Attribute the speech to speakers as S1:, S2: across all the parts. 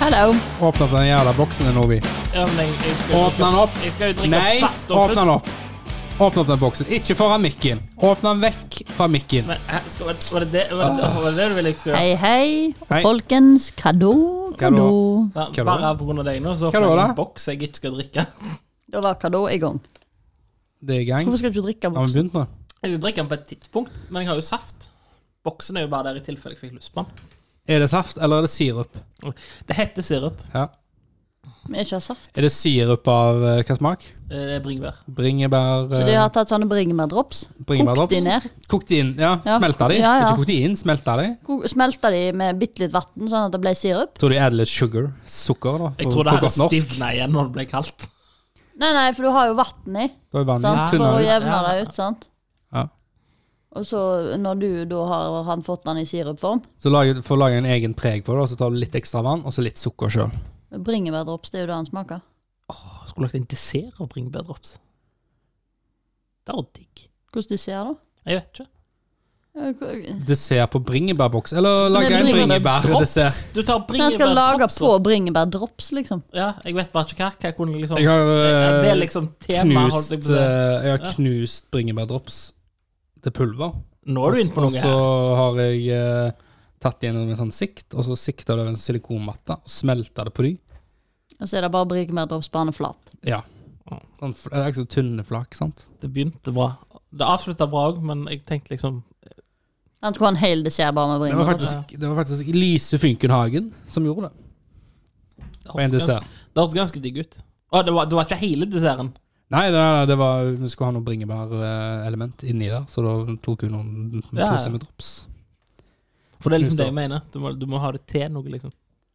S1: Hello.
S2: Åpne opp den jævla boksen din, Ovi.
S3: Ja, men jeg, jeg skal jo
S2: Åpne
S3: drikke
S2: den opp.
S3: Jeg skal jo drikke
S2: Nei,
S3: opp saft og
S2: åpne den opp. Åpne opp den boksen. Ikke foran mikken. Åpne den vekk fra mikken.
S3: Men, hæ, skal, var, det det, var, det, var det det du ville jeg skulle gjøre?
S1: Hei, hei.
S2: Hei.
S1: Folkens, hva da? Hva da?
S2: Kado.
S3: Ja,
S2: Hva var
S3: Bare
S2: det?
S3: på grunn av deg nå, så
S2: Hva
S3: åpner
S2: var
S3: jeg
S2: det?
S3: en boks jeg ikke skal drikke.
S1: Da var hva da i gang.
S2: Det er i gang.
S1: Hvorfor skal du ikke drikke av
S2: Har vi
S1: boksen?
S2: begynt nå?
S3: Jeg skal drikke den på et tidspunkt, men jeg har jo saft. Boksen er jo bare der i tilfelle jeg fikk lyst på den.
S2: Er det saft, eller er det sirup?
S3: Det heter sirup.
S2: Ja.
S1: Vi ikke har saft.
S2: Er det sirup av eh, hva smak?
S3: Eh, Det er bringebær.
S2: Bringebær
S1: Så
S2: eh,
S1: de har tatt sånne bringebærdrops, kokt de
S2: bringebærdrops?
S1: ned,
S2: Kokt de inn, ja.
S1: Ja.
S2: Smelta de?
S1: Ja, ja.
S2: Ikke kokt de inn, smelta de?
S1: ko- smelta de med bitte litt vann sånn at det ble sirup.
S2: Tror de add litt sugar? Sukker, da?
S3: Jeg
S2: på-
S3: tror
S2: på
S3: det hadde
S2: godt norsk.
S3: stivna igjen når det ble kaldt.
S1: Nei, nei, for du har jo vann i,
S2: Da er vannet
S1: sant? for
S3: Ja.
S1: å
S2: tynnere.
S1: jevne det ut, sant?
S2: Ja.
S1: Og så når du da har han fått den i sirupform
S2: Så lager, får lage en egen preg på det, og så tar du litt ekstra vann, og så litt sukker sjøl.
S1: Bringebærdrops, det er jo det han smaker.
S3: Skulle lagt en dessert av bringebærdrops. Det var digg.
S1: Hvordan de ser det?
S3: Jeg vet ikke.
S1: Ja, hva-
S2: Dessert på bringebærboks, eller lager
S1: Men
S2: en
S1: bringebærdrops?
S3: Drops!
S2: bringebærdessert.
S3: Du tar
S1: Han skal lage
S3: bringebærdrops.
S1: på
S3: og-
S1: bringebærdrops, liksom.
S3: Ja, jeg vet bare ikke hva. Hva kunne jeg liksom
S2: Jeg har
S3: Ja, Det er
S2: eh,
S3: liksom tema, holdt
S2: knust,
S3: jeg på å si.
S2: eh, jeg har
S3: Ja.
S2: knust bringebærdrops til pulver.
S3: Nå er du inne på
S2: Og
S3: noe
S2: så
S3: her.
S2: har jeg eh, tatt det gjennom en sånn sikt, og så sikta det over en silikonmatte, og smelta det på de.
S1: Og så er det bare bringebærdrops på han er flat.
S2: Ja. Sånn, fl- det er ikke så tynne flak, sant?
S3: Det begynte bra. Det avslutta bra òg, men jeg tenkte liksom
S1: Han skulle ha en hel dessert bare med
S2: Det var
S1: bringebærdrops.
S2: faktisk, det var faktisk Lyse Funkenhagen som gjorde det.
S3: Det
S2: Og en
S3: hørtes ganske,
S2: dessert.
S3: det hørtes ganske digg ut. Å, det var, det var ikke hele desserten.
S2: Nei, det, det var, vi skulle ha noe bringebærelement inni der, så da tok hun noen
S3: Ja.
S2: poser med drops.
S3: For det er
S2: Knust,
S3: liksom det jeg mener. Du må, du må ha det til noe, liksom.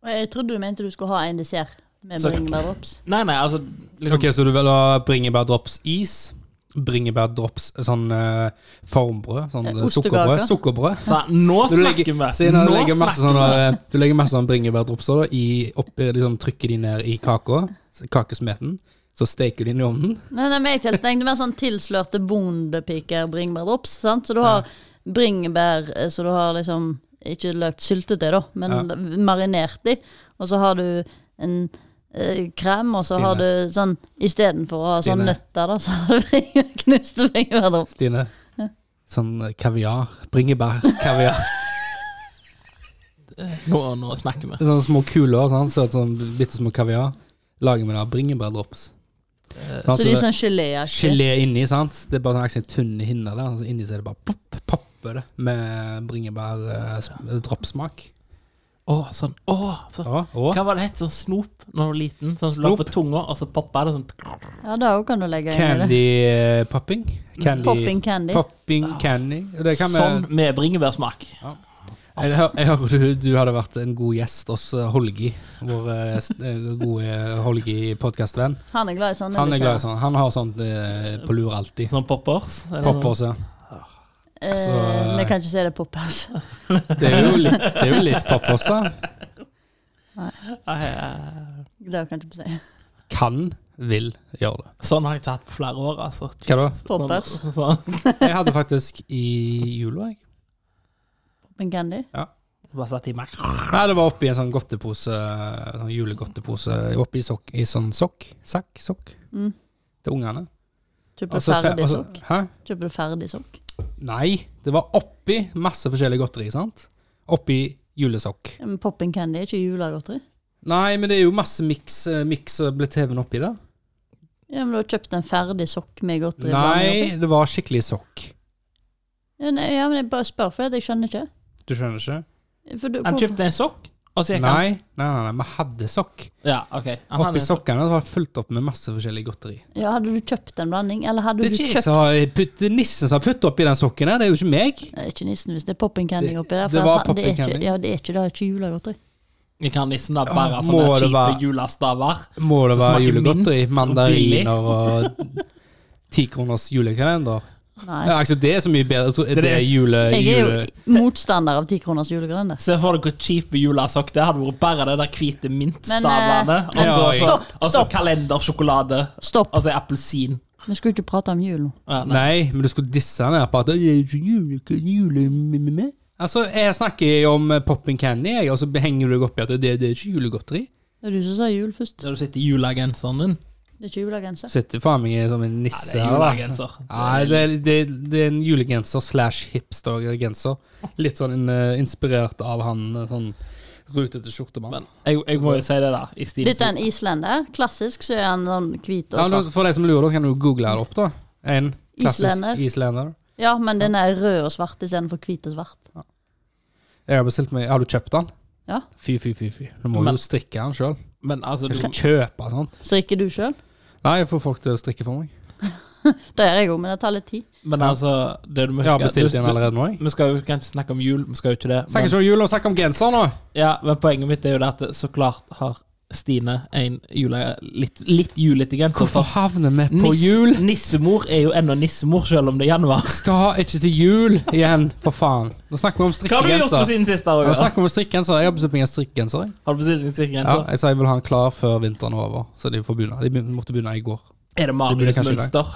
S1: Og Jeg trodde du mente du skulle ha en dessert med
S3: Så-
S1: bringebærdrops.
S3: Nei, nei, altså liksom,
S2: Ok, så du vil ha bringebærdrops-is? Bringebærdrops sånn eh, formbrød? Sånn
S1: Eh,
S2: eh,
S1: ostekake.
S2: sukkerbrød? Sukkerbrød.
S3: så, Nå
S2: Du legger,
S3: snakker vi!
S2: så når du,
S3: Nå
S2: legger masse
S3: snakker
S2: sånne,
S3: vi.
S2: eh, du legger masse sånn bringebærdropser da, i, oppi, liksom, trykker de ned i kaka, s- kakesmeten, så steker de den i ovnen.
S1: Nei, nei, men jeg tenkte- tenkte mer sånn tilslørte bondepiker bringebærdrops. sant? Så du har bringebær eh, så du har liksom ikke løkt syltetøy, da, men
S2: Ja.
S1: l- marinert i. Og så har du en eh, krem, og så
S2: Stine.
S1: har du sånn Istedenfor å ha sånn
S2: Stine.
S1: nøtter, da, så har du bringe- knuste bringebærdrops.
S2: Stine, sånn eh, kaviar. Bringebærkaviar.
S3: Nå, nå snakker vi.
S2: Sånne små kuler, sånn, så sånn bitte små kaviar. Lager vi da bringebærdrops.
S1: Så
S2: Sånn,
S1: de er
S2: så det
S1: sånn geléaktige.
S2: gelé inni, sant. Det er bare sånn akkurat tynne hinner der, så inni så er det bare pop, popper det med eh, bringebærdropsmak.
S3: Å, sånn. Å, så,
S2: Ja, og
S3: hva var det het? Sånn snop når du var liten? Sånn som lå
S2: Snop.
S3: på tunga, og så poppa det sånn
S1: Ja, det òg kan du legge inn i det.
S2: candy-popping. eh, Candy,
S1: Popping candy.
S2: Popping candy. Og Det kan vi,
S3: Sånn med bringebærsmak.
S2: jeg, hø- jeg hører du, du hadde vært en god gjest hos eh, Holgi, vår eh, s- eh, gode Holgi-podkastvenn.
S1: Han er glad i sånne.
S2: Han er glad i
S1: dessert.
S2: sånn. Han har sånt eh, på lur alltid.
S3: Sånn poppers. eller sånn-
S2: Poppers, ja.
S1: Eh,
S2: så-
S1: Vi kan ikke si det poppers.
S2: Det er jo litt, det er jo litt poppers, da.
S3: Nei, eh,
S1: Det kan jeg ikke si.
S2: Kan, vil gjøre det.
S3: Sånn har jeg ikke hatt på flere år, altså.
S2: Hva da?
S3: Sånn-
S1: Poppers.
S3: Sånn.
S2: Jeg hadde faktisk i jula, jeg.
S1: Popping candy.
S3: Bare satt i meg.
S2: Nei, det var oppi en sånn godtepose, sånn julegodtepose, oppi sokk, i sånn sokk, sekk, sokk,
S1: Mm.
S2: til ungene.
S1: Kjøper
S2: så Altså, fe-
S1: ferdig
S2: og så-
S1: sokk.
S2: Hæ?
S1: Kjøper du ferdig sokk?
S2: Nei, det var oppi masse forskjellig godteri, sant? Oppi julesokk.
S1: Ja, Men popping candy er ikke julegodteri.
S2: Nei, men det er jo masse miks, eh, miks og ble TV-en oppi det.
S1: Ja, men du har kjøpt en ferdig sokk med godteri. blandet oppi.
S2: Nei, det var skikkelig sokk.
S1: Ja, nei, ja, men jeg bare spør, for jeg skjønner ikke.
S2: Du skjønner ikke?
S1: For du,
S3: Han
S1: hvorfor-
S3: kjøpte en sokk, og så gikk han
S2: Nei, nei, nei, nei, vi hadde sokk.
S3: Ja, ok. Han hadde
S2: Oppi
S3: en sokk.
S2: sokkene var det fullt opp med masse forskjellig godteri.
S1: ja, hadde du kjøpt en blanding, eller hadde
S2: Det er
S1: du
S2: ikke jeg
S1: kjøpt
S2: som har putt, det er nissen som har puttet oppi den sokken her, det er jo ikke meg.
S1: Nei, Ikke nissen, hvis det er popping candy
S2: Det-
S1: oppi der.
S2: det
S1: at
S2: var
S1: han- det er
S2: popping
S1: ikke-
S2: candy.
S1: Ja, det er ikke, det er ikke julegodteri.
S3: Jeg kan nissen liksom da bare
S2: Åh, må
S3: sånne
S2: det
S3: kjipe
S2: være-
S3: julestaver.
S2: Må det
S3: Som
S2: være
S3: smaker
S2: julegodteri?
S3: billig.
S2: Mandariner og tikroners julekalender?
S1: Nei.
S2: Ja, altså, det er så mye bedre. tror- Er det jule...
S1: jeg er
S2: jule...
S1: jo motstander av 10 kroners julekalender.
S3: Se for deg hvor kjip julesokk det hadde vært. Bare det der hvite mintstavene.
S1: Men,
S2: eh,
S3: og så-
S2: ja,
S3: så-
S1: stopp,
S3: Og så
S1: stopp.
S3: kalendersjokolade.
S1: Stopp,
S3: Og så appelsin.
S1: vi skulle ikke prate om jul nå.
S3: Ja, nei.
S2: Nei, men du skulle disse han her på at det er ikke jule... jule m- m- Altså, jeg snakker om eh, popping candy, jeg, og så henger du deg opp i at det, det er ikke julegodteri.
S1: Det er du som sa jul først.
S3: Så har du sett i julegenseren din?
S1: Det er ikke julegenser.
S2: Sitter faen meg som en
S3: Ja,
S2: nisse.
S3: det er
S2: her, da.
S3: julegenser.
S2: Nei, det, er- det, er- det er en julegenser slash hipster-genser. Litt sånn eh, inspirert av han eh, sånn rutete skjortemann.
S3: Men jeg, jeg må jo si det, da. I stil
S1: Dette er en islender. Klassisk så er han sånn hvit
S2: Ja,
S1: og
S2: men
S1: svart.
S2: for deg som lurer, da, så kan du google det opp, da. En klassisk
S1: Islender.
S2: islender.
S1: Ja, men den er rød og svart istedenfor hvit og svart.
S2: Jeg har bestilt meg Har du kjøpt den?
S1: Ja.
S2: Fy, fy, fy. fy. Du må
S3: Men-
S2: jo strikke den sjøl.
S3: Men altså,
S2: Du
S3: du,
S2: kan ikke kjøpe sånn.
S1: Strikker du sjøl?
S2: Nei, jeg får folk til å strikke for meg.
S1: Det gjør jeg òg, men det tar litt tid.
S3: men altså det du må
S2: Jeg har
S3: huske-
S2: bestilt
S3: du-
S2: en
S3: du-
S2: allerede nå, jeg.
S3: Vi skal jo kanskje snakke om jul, vi skal jo ikke det.
S2: Snakker
S3: Men,
S2: ikke om jul og snakker om genser nå!
S3: ja, men poenget mitt er jo det at det- så klart har Stine en jule, litt, litt julete genser.
S2: Hvorfor
S3: for
S2: havner vi på
S3: nis-
S2: jul?
S3: Nissemor er jo ennå nissemor, selv om det er januar.
S2: Skal ikke til jul igjen, for faen. Nå snakker vi om
S3: Hva har du gjort på
S2: strikkegenser.
S3: siden sist, da,
S2: Nå
S3: Roger?
S2: snakker vi om strikkegenser. Jeg har bestilt meg en strikkegenser. jeg.
S3: Har du bestilt en strikkegenser?
S2: Ja, jeg sa jeg ville ha den klar før vinteren er over, så de får begynne. De begyn- måtte begynne i går.
S3: Er det
S2: Det blir
S3: Marius
S2: kanskje
S3: mønster?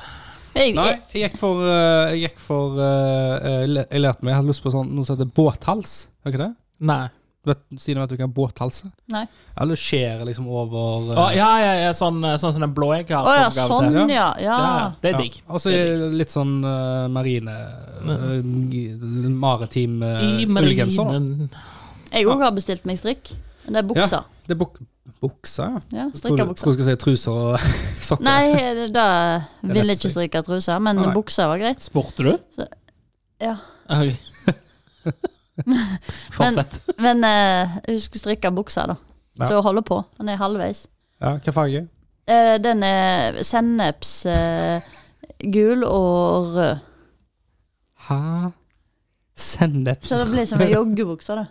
S1: Jeg,
S2: Nei,
S1: jeg,
S2: jeg gikk for, eh, jeg, gikk for eh, eh, le- jeg lærte meg Jeg hadde lyst på sånn, noe som heter båthals. Er ikke det?
S3: Nei.
S2: Vet, Siden vet du hva båthalse er?
S1: nei.
S2: Eller skjæret liksom over eh,
S3: Å, ja, ja, ja, sånn, sånn som den blå jeg har.
S1: Å ja,
S3: oppgave til.
S1: sånn, ja. ja.
S3: Ja, det er
S2: ja.
S3: digg.
S2: Og så litt sånn eh, marine eh, g- Maritim
S3: Eh,
S2: uh, ullgenser. da.
S1: Jeg òg har bestilt meg strikk. Det er bukser.
S2: Det er buk bukse, ja.
S1: Ja,
S2: Tror du-
S1: Strikkabukser.
S2: Tror du skal si truser og sokker.
S1: Nei, eh, det- da ville jeg
S2: nesten
S1: ikke strikke truser, men
S2: Nei.
S1: bukser var greit.
S3: Spurte du?
S1: Ja.
S3: Ok. Fortsett.
S1: Men eh, husk å strikke bukser, da.
S2: Ja.
S1: Så holde på. Den er halvveis.
S2: Ja, hva farge?
S1: Eh, den er sennepsgul eh, og rød.
S2: Hæ? Senneps
S1: Så det blir som en joggebukse, da.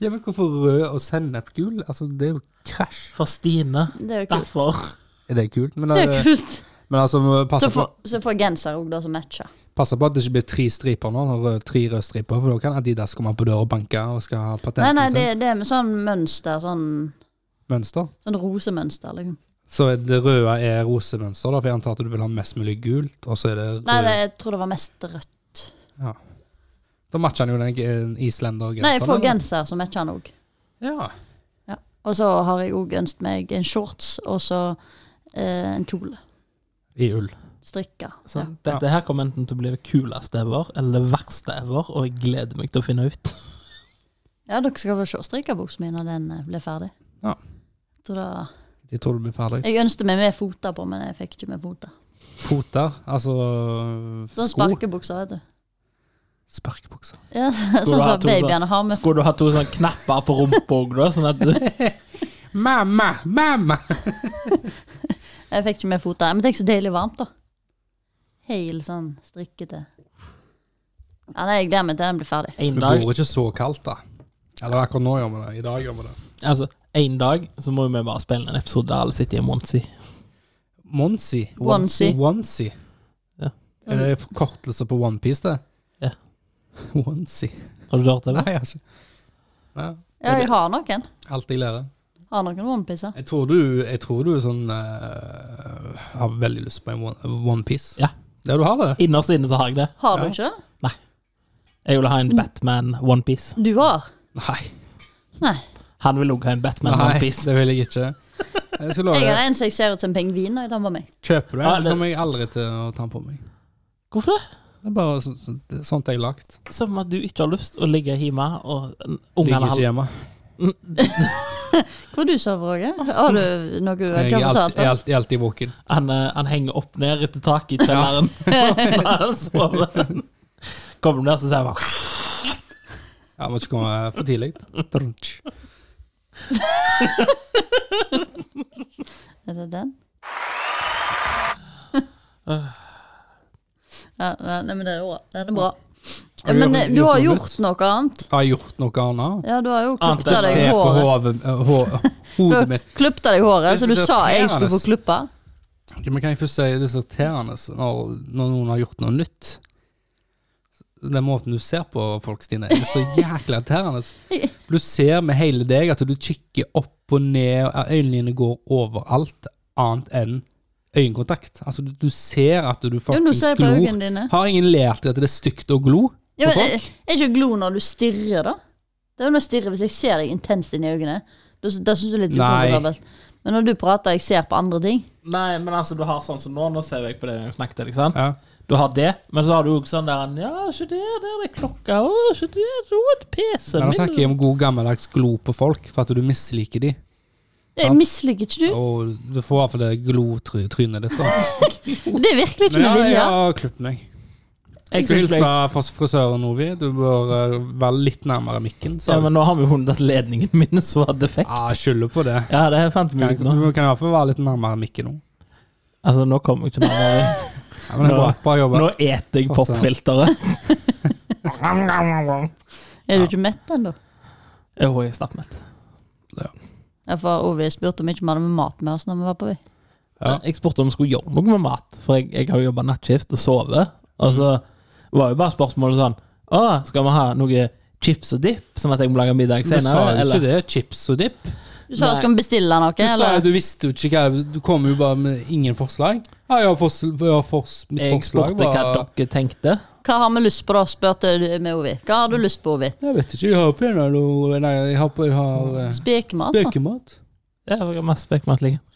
S2: Ja, men Hvorfor rød og sennepgul? Altså, det er jo krasj.
S3: For Stine.
S1: Det er jo kult.
S3: Derfor.
S2: Er det kult? Men,
S1: Det er jo
S2: eh,
S1: kult.
S2: men altså, må passe
S1: Så
S2: på,
S1: får- Så får jeg genser òg, da, som matcher.
S2: passe på at det ikke blir tre striper nå. når Rød, tre røde striper, for da kan Adidas komme på døra og banke og skal ha
S1: Nei,
S2: patenten
S1: nei,
S2: sin.
S1: det, det er med sånn mønster, sånn,
S2: Mønster.
S1: sånn rosemønster, liksom.
S2: Så det røde er rosemønster, da, for jeg antar at du vil ha mest mulig gult. Og så er det rød.
S1: Nei, det, jeg tror det var mest rødt.
S2: Da matcher han jo den g- islender-genseren.
S1: Nei, jeg får
S2: eller?
S1: genser som matcher den òg.
S2: Ja.
S1: Og så har jeg òg ønsket meg en shorts og så eh, en kjole.
S2: I ull.
S1: Strikka.
S3: Så dette her kommer enten til å bli det kuleste ever, eller det verste ever, og jeg gleder meg til å finne ut.
S1: Ja, dere skal få se strikkebuksa mi når den eh, blir ferdig.
S2: Ja.
S1: Så da,
S2: De tror du blir ferdig.
S1: jeg ønsket meg med foter på, men jeg fikk ikke med foter.
S2: Foter, altså
S1: Sånn
S2: sko.
S1: sparkebukser, vet du.
S2: Sparkebukser.
S1: Ja,
S3: du
S1: sånn
S3: ha
S1: som
S3: to sånne-
S1: babyene har med.
S3: Skulle du ha to sånne knapper på rumpa òg, da? Sånn at du
S2: Mamma, mamma!
S1: Jeg fikk ikke med foter. Men tenk så deilig varmt, da. Heil sånn strikkete. Ja, nei, Jeg gleder meg til den blir ferdig.
S3: En
S2: Det
S3: dag,
S2: går ikke så kaldt, da. Eller akkurat nå gjør vi det. I dag gjør vi det.
S3: altså, en dag så må jo vi bare spille en episode der alle sitter i en monsi.
S2: Monsi.
S1: Onesie.
S2: Onesie.
S3: Ja.
S2: Er det forkortelse på OnePiece, det?
S3: Ja.
S2: Onesie.
S3: Har du hørt det?
S2: Nei,
S3: eller?
S2: altså. Ja,
S1: Ja, jeg har noen.
S2: alt jeg lærer.
S1: Har noen onepisser.
S2: Jeg tror du, jeg tror du er sånn eh, Har veldig lyst på en one- OnePiece.
S3: Ja.
S2: Ja, du har det?
S3: Innerst inne så har jeg det.
S1: Har du
S2: Ja.
S1: ikke det?
S3: Jeg vil ha en Batman onepiece.
S1: Du har.
S2: Nei.
S3: Han vil òg ha en Batman
S2: Nei,
S3: onepiece.
S2: det vil jeg ikke. Jeg skal love
S1: Jeg har
S2: deg.
S1: en som jeg ser ut som en pingvin, og den var meg.
S2: Kjøper du en,
S3: Ja,
S2: så
S3: det-
S2: kommer jeg aldri til å ta den på meg.
S3: Hvorfor det?
S2: Det er bare så, så, det er sånt jeg er lagt.
S3: Som at du ikke har lyst å ligge hjemme og ungene
S2: Ligger
S3: har
S2: ikke hjemme.
S1: Hvor du sover, Roger? Har du noe du ikke
S2: Jeg er
S1: har fortalt
S2: alltid, jeg er
S1: oss?
S2: alltid, jeg er alltid våken.
S3: Han, eh, han henger opp ned etter taket i kjelleren. Når han sover. Kommer du der, så sier han bare
S2: Jeg må ikke komme for tidlig. Trunch.
S1: Er det den? Ja, nei, nei, men det er bra. Den er bra. Ja,
S2: Har du
S1: men
S2: gjort-
S1: eh, du har
S2: gjort noe
S1: gjort noe annet.
S2: Har jeg gjort noe annet?
S1: Ja, du har jo
S3: Annet
S1: klippet
S3: enn
S1: av
S2: Se
S1: deg
S2: på
S1: håret.
S2: hovet- eh, hå- hodet mitt.
S1: Klippet av deg håret,
S2: Det
S1: så du
S2: synes jeg
S1: sa
S2: er
S1: jeg skulle få
S2: irriterende.
S1: klippa.
S2: Ja, Men kan jeg først si det er så irriterende når, når noen har gjort noe nytt? Den måten du ser på folk, Stine, er så jækla irriterende. For du ser med hele deg at du kikker opp og ned, og øynene dine går overalt annet enn øyekontakt. Altså, du, du ser at du
S1: Jo, nå
S2: fuckings
S1: ser jeg på
S2: glor.
S1: øynene dine.
S2: Har ingen lært deg at det er stygt å glo?
S1: Ja, men, er
S2: På
S1: er ikke glo når du stirrer, da? Det er jo når jeg stirrer, Hvis jeg ser deg intenst inn i øynene, da da syns du det er litt
S2: Nei.
S1: ukomfortabelt. Men når du prater, jeg ser på andre ting.
S3: Nei, men altså, du har sånn som nå. Nå ser jeg på det jeg snakket til, ikke sant?
S2: Ja.
S3: Du har det, men så har du jo sånn der Ja, se der, der er klokka. Å, se der, så er PC-en
S2: Men da snakker
S3: min.
S2: jeg om god gammeldags glo på folk, for at du misliker de.
S1: Det
S2: Sant.
S1: misliker ikke du.
S2: Og du får i hvert fall det glotrynet ditt. da.
S1: Det er virkelig ikke
S2: Men ja,
S1: med vilje.
S2: jeg har klippet meg. Jeg skal hilse fra frisøren Ovi. Du bør eh, være litt nærmere mikken.
S3: Ja,
S2: Så.
S3: men nå har vi jo funnet at ledningen min så var defekt.
S2: ah, skylder på det.
S3: Ja, det fant vi
S2: Kan,
S3: ut nå.
S2: du kan i hvert fall være litt nærmere mikken nå.
S3: Altså, nå kommer jeg ikke nærmere.
S2: Ja, men det er bra, bra jobba.
S3: Nå eter jeg popfilteret.
S1: Er du ikke mett ennå?
S3: Jo, jeg er stappmett.
S1: Ja, for Ovi spurte om ikke vi hadde med mat med oss når vi var på vei.
S2: Ja.
S3: Jeg spurte om jeg skulle gjøre noe med mat, for jeg, jeg har jo jobba nattskift og sovet. Og så var jo bare spørsmålet sånn Å, skal vi ha noe chips og dipp, sånn at jeg må lage middag
S2: Du sa
S3: senere?
S2: jo ikke
S3: Eller?
S2: det. Chips og dipp.
S1: Du sa
S3: Nei.
S1: skal vi bestille noe,
S2: Du sa jo
S1: eller?
S2: du visste jo ikke hva Du kom jo bare med ingen forslag. Ja, jeg har fors, jeg har fors, mitt
S3: Jeg
S2: forslag
S3: spurte hva
S2: var
S3: dere tenkte.
S1: Hva har vi lyst på, da? spurte du med Ovi. Hva har du lyst på, Ovi?
S2: Jeg vet ikke. Jeg har fjerne noe Nei, jeg har, på- jeg har eh,
S1: Spekemat? da.
S2: spekemat.
S3: Ja, jeg har masse liksom. spekemat ligger.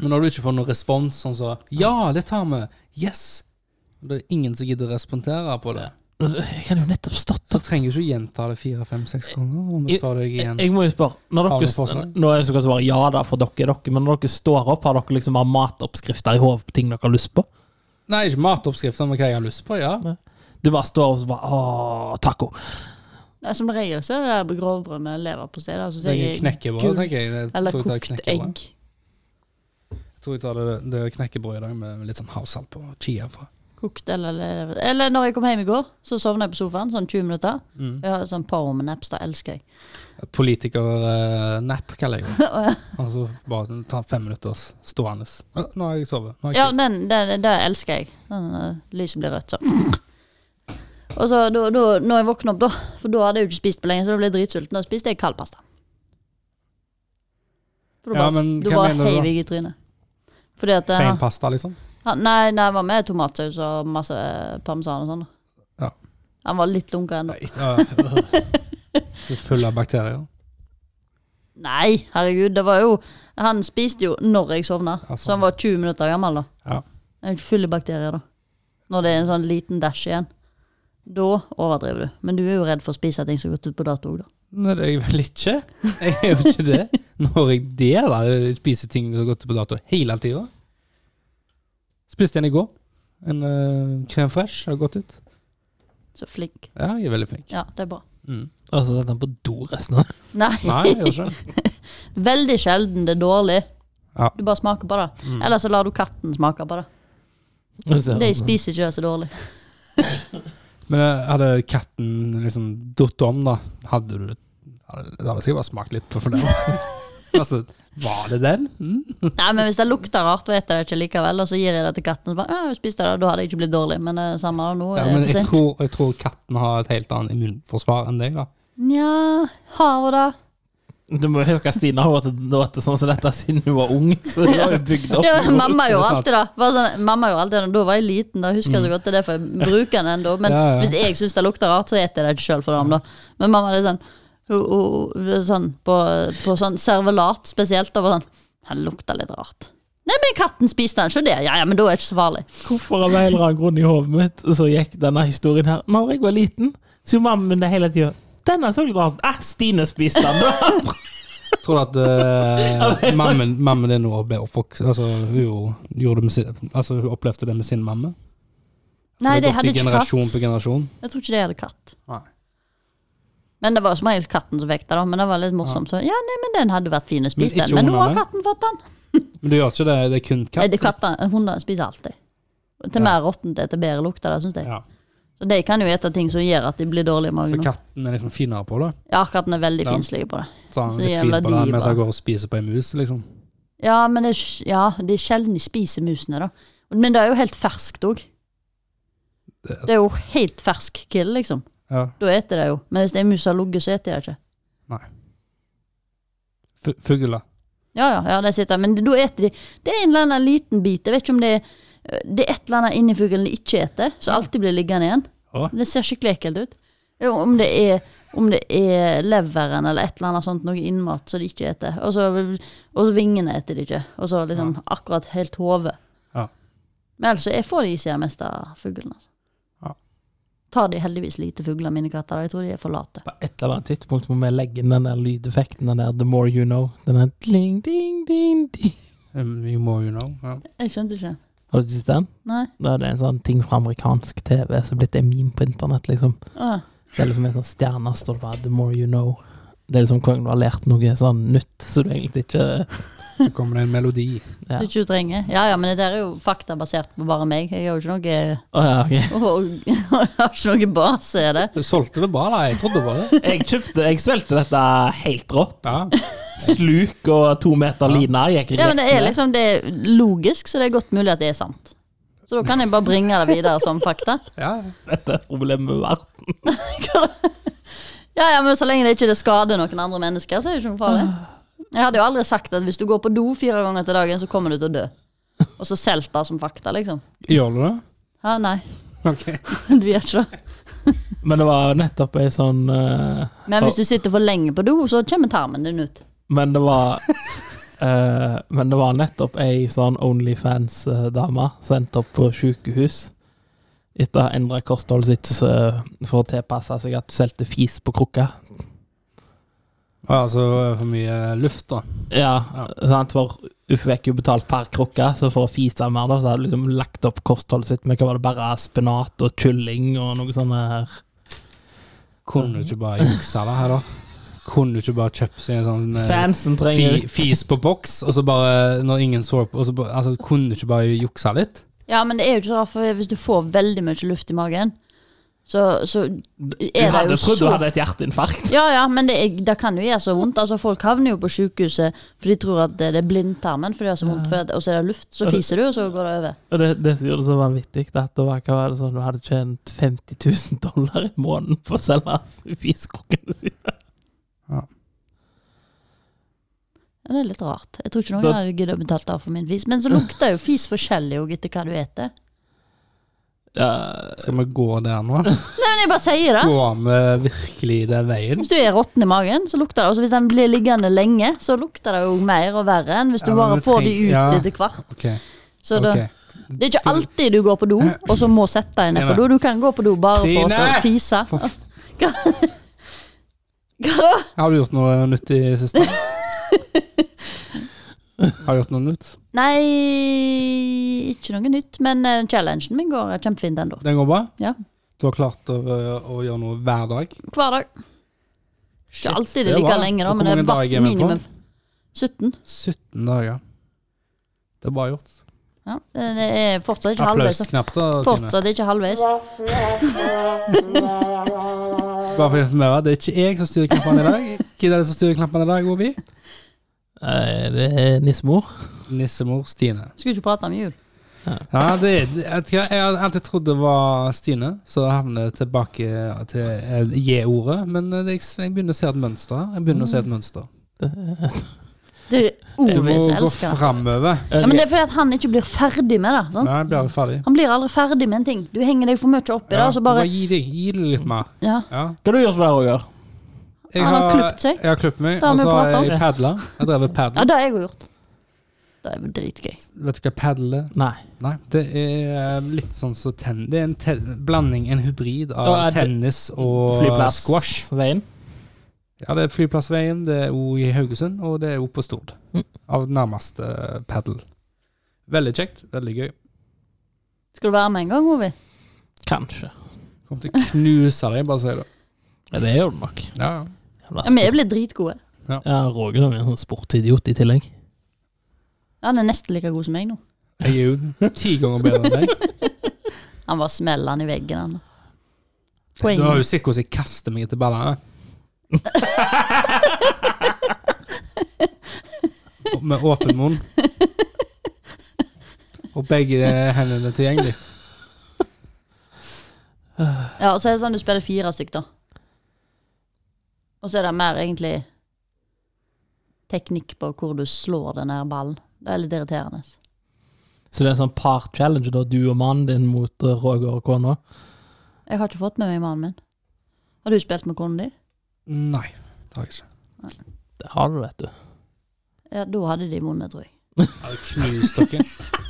S2: Men når du ikke får noen respons sånn så Ja, det tar vi. Yes. Det er ingen som gidder å respondere på det.
S3: Jeg hadde jo nettopp stått
S2: Så trenger du ikke gjenta det fire, fem, seks ganger. Om vi spør deg igjen.
S3: Jeg må jo spørre når
S2: Har du
S3: dere,
S2: forslag?
S3: Nå er jeg så godt svare ja da for dere, er dere, men når dere står opp, har dere liksom bare matoppskrifter i hodet på ting dere har lyst på?
S2: Nei, ikke matoppskrifter, men hva jeg har lyst på. Ja.
S3: Du bare står og så bare Åh, taco.
S1: Nei, Som regel så er det der grovbrød med leverpostei. da, synes
S2: Det
S1: jeg
S2: er
S1: er
S2: knekkebrød,
S1: gull.
S2: tenker jeg. jeg.
S1: Eller
S2: tror jeg tar
S1: kokt
S2: knekkebrød.
S1: egg.
S2: Jeg tror jeg tar det, det knekkebrød i dag med litt sånn havsalt på. Chia fra.
S1: Kokt eller lever. Eller når jeg kom hjem i går, så sovna jeg på sofaen sånn 20 minutter.
S2: Mm.
S1: Jeg har sånn power-naps, da elsker jeg.
S2: Politikernap, eh, kaller jeg det.
S1: Å, ja.
S2: Altså bare sånn, ta fem minutters stående. Ja, Nå har jeg sovet. Nå har
S1: Ja,
S2: jeg
S1: den, den, det elsker jeg. Den, eh, lyset blir rødt, så. Og så da, da, når jeg våkna opp, da, for da hadde jeg jo ikke spist på lenge, så da ble jeg dritsulten, og spiste jeg kald pasta. For da
S2: Ja,
S1: bare,
S2: men
S1: da
S2: hva
S1: bare
S2: mener du da?
S1: heiv jeg i trynet. Fordi at eh,
S2: Plain pasta, liksom.
S1: han, Nei, nei, han var med tomatsaus og masse eh, parmesan og sånn. da.
S2: Ja.
S1: Han var litt lunka ennå.
S2: Nei, ikke- øh. Full av bakterier.
S1: Nei, herregud, det var jo Han spiste jo når jeg sovna,
S2: Ja, sånn.
S1: så han var 20 minutter gammel, da.
S2: Ja.
S1: Jeg er ikke full i bakterier, da. Når det er en sånn liten dash igjen. Da overdriver du. Men du er jo redd for å spise ting som har gått ut på dato òg, da.
S2: Nei, det er jeg vel ikke. Jeg er jo ikke det. Når jeg deler jeg spiser ting som har gått på dato hele tida. Spiste en i går. En eh, crème fresh har gått ut.
S1: Så flink.
S2: Ja, jeg er veldig flink.
S1: Ja, det er bra.
S2: Mm.
S3: Og så setter han på do resten av
S1: Nei,
S2: Nei, jeg gjør ikke det.
S1: veldig sjelden det er dårlig.
S2: Ja. Mm.
S1: Du bare smaker på det. Eller så lar du katten smake på det.
S3: det.
S1: De spiser ikke det så dårlig.
S2: Men eh, hadde katten liksom datt om, da, hadde du hadde, Det hadde sikkert bare smakt litt på for den. altså, var det den? Mm.
S1: Nei, men hvis det lukter rart, vet jeg det ikke likevel, og så gir jeg det til katten. Så bare, ja, jeg spiste det, da hadde jeg ikke blitt dårlig. Men det er samme nå. er
S2: Ja,
S1: det
S2: men
S1: for
S2: jeg
S1: sent.
S2: tror, jeg tror katten har et helt annet immunforsvar enn deg, da.
S1: Nja, har hun det?
S3: Du må jo huske at Stina har vært sånn som dette siden hun var ung. Så hun har jo bygd opp
S1: Ja, mamma gjorde
S2: sant.
S1: alltid det. Bare Sånn, mamma gjorde alltid det. Da var jeg liten, da husker jeg så godt. Det er derfor jeg bruker den ennå. Men
S2: Mm. Ja, ja.
S1: hvis jeg syns det lukter rart, så spiser jeg det ikke sjøl for dem. Da. Men mamma er sånn, hun- hun- hun er sånn på, på sånn servelat spesielt. Da, bare sånn, den lukter litt rart. Nei, men katten spiste den, så det. Ja, ja, men da er det ikke så farlig.
S3: Hvorfor av en eller annen grunn i hodet mitt så gikk denne historien her. Når jeg var liten, så gjorde mamma min det hele tida. Denne så litt rart. Ah, Stine spiste den.
S2: Tror du at eh, mammen, mammen din nå ble oppvokst Altså, hun, jo gjorde det med sin, altså, hun opplevde det med sin mamma?
S1: Nei,
S2: det
S1: de
S2: har
S1: hadde
S2: gått i
S1: ikke
S2: generasjon
S1: katt.
S2: på generasjon?
S1: Jeg tror ikke de hadde katt.
S2: Nei.
S1: Men det var som regel katten som vekta, da. Men det var litt morsomt. Så, ja, nei, men den hadde vært fin å spise,
S2: Men
S1: den.
S2: ikke
S1: Men nå har
S2: hundene?
S1: katten fått den.
S2: Men du gjør ikke det? Det er kun katt?
S1: Nei, det er katter, hunder spiser alltid. Til mer råttent, til bedre lukter det, syns jeg.
S2: Ja.
S1: Så de kan jo ete ting som gjør at de blir dårlige i
S2: Så
S1: magen.
S2: katten er liksom finere på det?
S1: Ja, katten er veldig
S2: Ja.
S1: finslige på det.
S2: Så han
S1: Så
S2: er litt
S1: jævla
S2: fin på det
S1: de,
S2: mens
S1: bare.
S2: han går og spiser på ei mus, liksom?
S1: Ja, men det er, sj- ja, det er sjelden de spiser musene, da. Men det er jo helt ferskt òg. Det er jo helt fersk kill, liksom.
S2: Ja.
S1: Da eter de jo. Men hvis det er mus som har ligget, så eter de ikke.
S2: Fu- Fugler.
S1: Ja, ja, ja, de sitter Men da eter de Det er en eller annen liten bit. Jeg vet ikke om det er det er et eller annet inni fuglen de ikke eter, som alltid blir liggende igjen.
S2: Å.
S1: Det ser skikkelig ekkelt ut. Jo, om det er om det er leveren eller et eller annet sånt, noe innmat som de ikke eter. Og så, og så vingene eter de ikke. Og så liksom akkurat helt hodet.
S2: Ja.
S1: Men ellers så jeg får de ikke jeg mest av fuglene. Altså.
S2: Ja.
S1: Tar de heldigvis lite fugler, mine katter. da. Jeg tror de er for late.
S3: På et eller annet tidspunkt må vi legge inn den der lydeffekten, den der 'the more you know'. Den der ding, ding, ding, ding.
S2: Um, You more you know. Ja.
S1: Jeg skjønte ikke.
S3: Har du ikke sett den?
S1: Nei.
S3: Da er det en sånn ting fra amerikansk TV som er blitt en meme på internett, liksom.
S1: Åh.
S3: Det er liksom en sånn stjerne står det bare 'the more you know'. Det er liksom hvordan du har lært noe sånn nytt så du egentlig ikke
S2: Så kommer det en melodi.
S3: Ja.
S1: Du ikke trenger. Ja, ja, men det der er jo faktabasert på bare meg. Jeg har jo ikke noe,
S3: Å ja, ok.
S1: og, jeg har ikke noe base i det.
S2: Du solgte det bra, da. Jeg trodde på det.
S3: Jeg kjøpte, jeg svelgte dette helt rått.
S2: Ja.
S3: Sluk og to meter line gikk
S1: Ja, men det er
S3: ned.
S1: liksom det er logisk, så det er godt mulig at det er sant. Så da kan jeg bare bringe det videre som fakta.
S2: ja.
S3: Dette er problemet med verden.
S1: Ja, ja, men Så lenge det ikke det skader noen andre mennesker, så er det ikke noe farlig. Jeg hadde jo aldri sagt at hvis du går på do fire ganger til dagen, så kommer du til å dø. Og så solgt det som fakta, liksom.
S2: Gjør du det?
S1: Ja, nei,
S2: Ok.
S1: du gjør ikke det.
S3: Men det var nettopp ei sånn eh,
S1: Men hvis du sitter for lenge på do, så kommer tarmen din ut.
S3: Men det var eh, Men det var nettopp ei sånn Onlyfans-dame sendt opp på sykehus etter å ha endra kostholdet sitt så- eh, for å tilpasse seg at hun solgte fis på krukka.
S2: Ja, altså for mye luft, da.
S3: Ja,
S2: Ja.
S3: sant? For hun fikk jo betalt per krukke, så for å fise mer, da, så hadde hun liksom lagt opp kostholdet sitt med hva var det bare spinat og kylling og noe sånt her.
S2: Kunne
S1: Mm.
S2: du ikke bare juksa det her, da? Kunne du ikke bare kjøpt seg en sånn eh,
S3: Fansen trenger
S2: fi, fis på boks, og så bare Når ingen så på og så bare, altså, Kunne du ikke bare juksa litt?
S1: Ja, men det er jo ikke så rart, for hvis du får veldig mye luft i magen, så, så
S3: Du
S1: er det
S3: hadde
S1: jo
S3: trodd du
S1: så
S3: hadde et hjerteinfarkt.
S1: Ja, ja, men det, er, det kan jo gjøre så vondt. Altså, folk havner jo på sykehuset, for de tror at det, det er blindtarmen, for det gjør så vondt, for at, og så er det luft. Så fiser du, og så går det over.
S3: Og det, det som gjorde det så vanvittig, det at det var, hva var det sånn, du hadde tjent 50 000 dollar i måneden på å selge fiskekrukkene sine.
S1: Ja, det er litt rart. Jeg tror ikke noen
S3: Da-
S1: hadde giddet å betalt av for min fis. Men så lukter jo fis forskjellig også etter hva du eter.
S3: Ja,
S2: Skal vi gå der nå?
S1: Nei, men jeg bare sier det.
S2: Går vi virkelig den veien?
S1: Hvis du er råtten i magen, så lukter det Og så hvis den blir liggende lenge, så lukter det jo mer og verre enn hvis du
S2: Ja, men
S1: bare
S2: vi
S1: får de
S2: treng-
S1: ut
S2: ja.
S1: etter hvert.
S2: Ok,
S1: Så da,
S2: ok.
S1: det er ikke alltid du går på do, og så må sette deg ned på do. Du
S2: Stine.
S1: kan gå på do bare for å så
S2: Stine!
S1: fise.
S2: For
S1: Hva Hva da?
S2: Har du gjort noe nytt i det siste? Har du gjort noe nytt?
S1: Nei, ikke noe nytt. Men eh, challengen min går kjempefint ennå.
S2: Den går bra?
S1: Ja.
S2: Du har klart å, å gjøre noe hver dag?
S1: Hver dag. Ikke alltid det
S2: det er
S1: like
S2: bra.
S1: lenge, da,
S2: Og
S1: men det
S2: hvor
S1: er
S2: mange dager
S1: hvert
S2: er vi på?
S1: minimum 17.
S2: 17 dager. Det er bra gjort.
S1: Ja, eh, det er fortsatt ikke halvveis. da.
S2: Applausknapp, da. Tine.
S1: Fortsatt ikke halvveis.
S2: Bare for å informere, det er ikke jeg som styrer knappene i dag. Hvem er det som styrer knappene i dag, Ovi?
S3: eh, det er nissemor.
S2: Nissemor Stine.
S1: Skulle ikke prate om jul.
S2: Ja, det, er- jeg, vet ikke, jeg har alltid trodd det var Stine, så havner jeg tilbake til eh, J-ordet. Men eh, det, jeg begynner å se et mønster. her. Jeg begynner å se
S1: Mm.
S2: et mønster.
S1: Det er
S2: Du
S1: Ove
S2: må
S1: som
S2: gå
S1: elsker det.
S2: framover.
S1: Ja, men det er fordi at han ikke blir ferdig med det. Sant?
S2: Nei, blir du ferdig?
S1: Han blir aldri ferdig med en ting. Du henger deg for mye opp i det,
S2: Ja,
S1: og så bare
S2: Gi det gi det litt mer.
S1: ja.
S2: Ja.
S3: Hva har du gjort hver Roger?
S2: Jeg
S1: Han har klippet seg.
S2: Jeg har klippet meg,
S1: Det har
S2: og
S1: vi
S2: så
S1: pratet
S2: har
S1: om.
S2: jeg padla. Jeg drev med
S1: ja,
S2: padel.
S1: det har jeg òg gjort. Det er jo dritgøy.
S2: Vet du hva padel er?
S3: Nei.
S2: Nei, det er eh, litt sånn som tenn... Det er en ten blanding, en hybrid av
S3: Ja, er det-
S2: tennis og
S3: Flyplass.
S2: squash.
S3: Veien.
S2: Ja, det er Flyplassveien, det er jo i Haugesund, og det er jo på Stord.
S3: Mm.
S2: Av nærmeste padel. Veldig kjekt, veldig gøy.
S1: Skal du være med en gang, Ovi?
S3: Kanskje.
S2: Kommer til å knuse deg, bare si det.
S3: Ja, det gjør du nok.
S2: Ja, ja.
S1: Ja, vi er blitt dritgode.
S3: Ja, Roger er jo en sånn sportsidiot i tillegg.
S1: Han er nesten like god som meg nå.
S2: Jeg er jo ti ganger bedre enn deg.
S1: Han var smellende i veggen. Han.
S2: Du har
S1: Poenget.
S2: jo sett hvordan jeg kaster meg etter ballene. Og Med åpen munn. Og begge hendene tilgjengelig.
S1: Ja, og så er det sånn du spiller fire stykk, da. Og så er det mer egentlig teknikk på hvor du slår den her ballen. Det er litt irriterende.
S3: Så det er en sånn par-challenge, da, du og mannen din mot eh, Roger og kona.
S1: Jeg har ikke fått med meg mannen min. Har du spilt med kona di?
S2: Nei, det har jeg ikke.
S3: Det har du, vet du.
S1: Ja, da hadde de vunnet, tror jeg.
S2: Jeg hadde knust dere.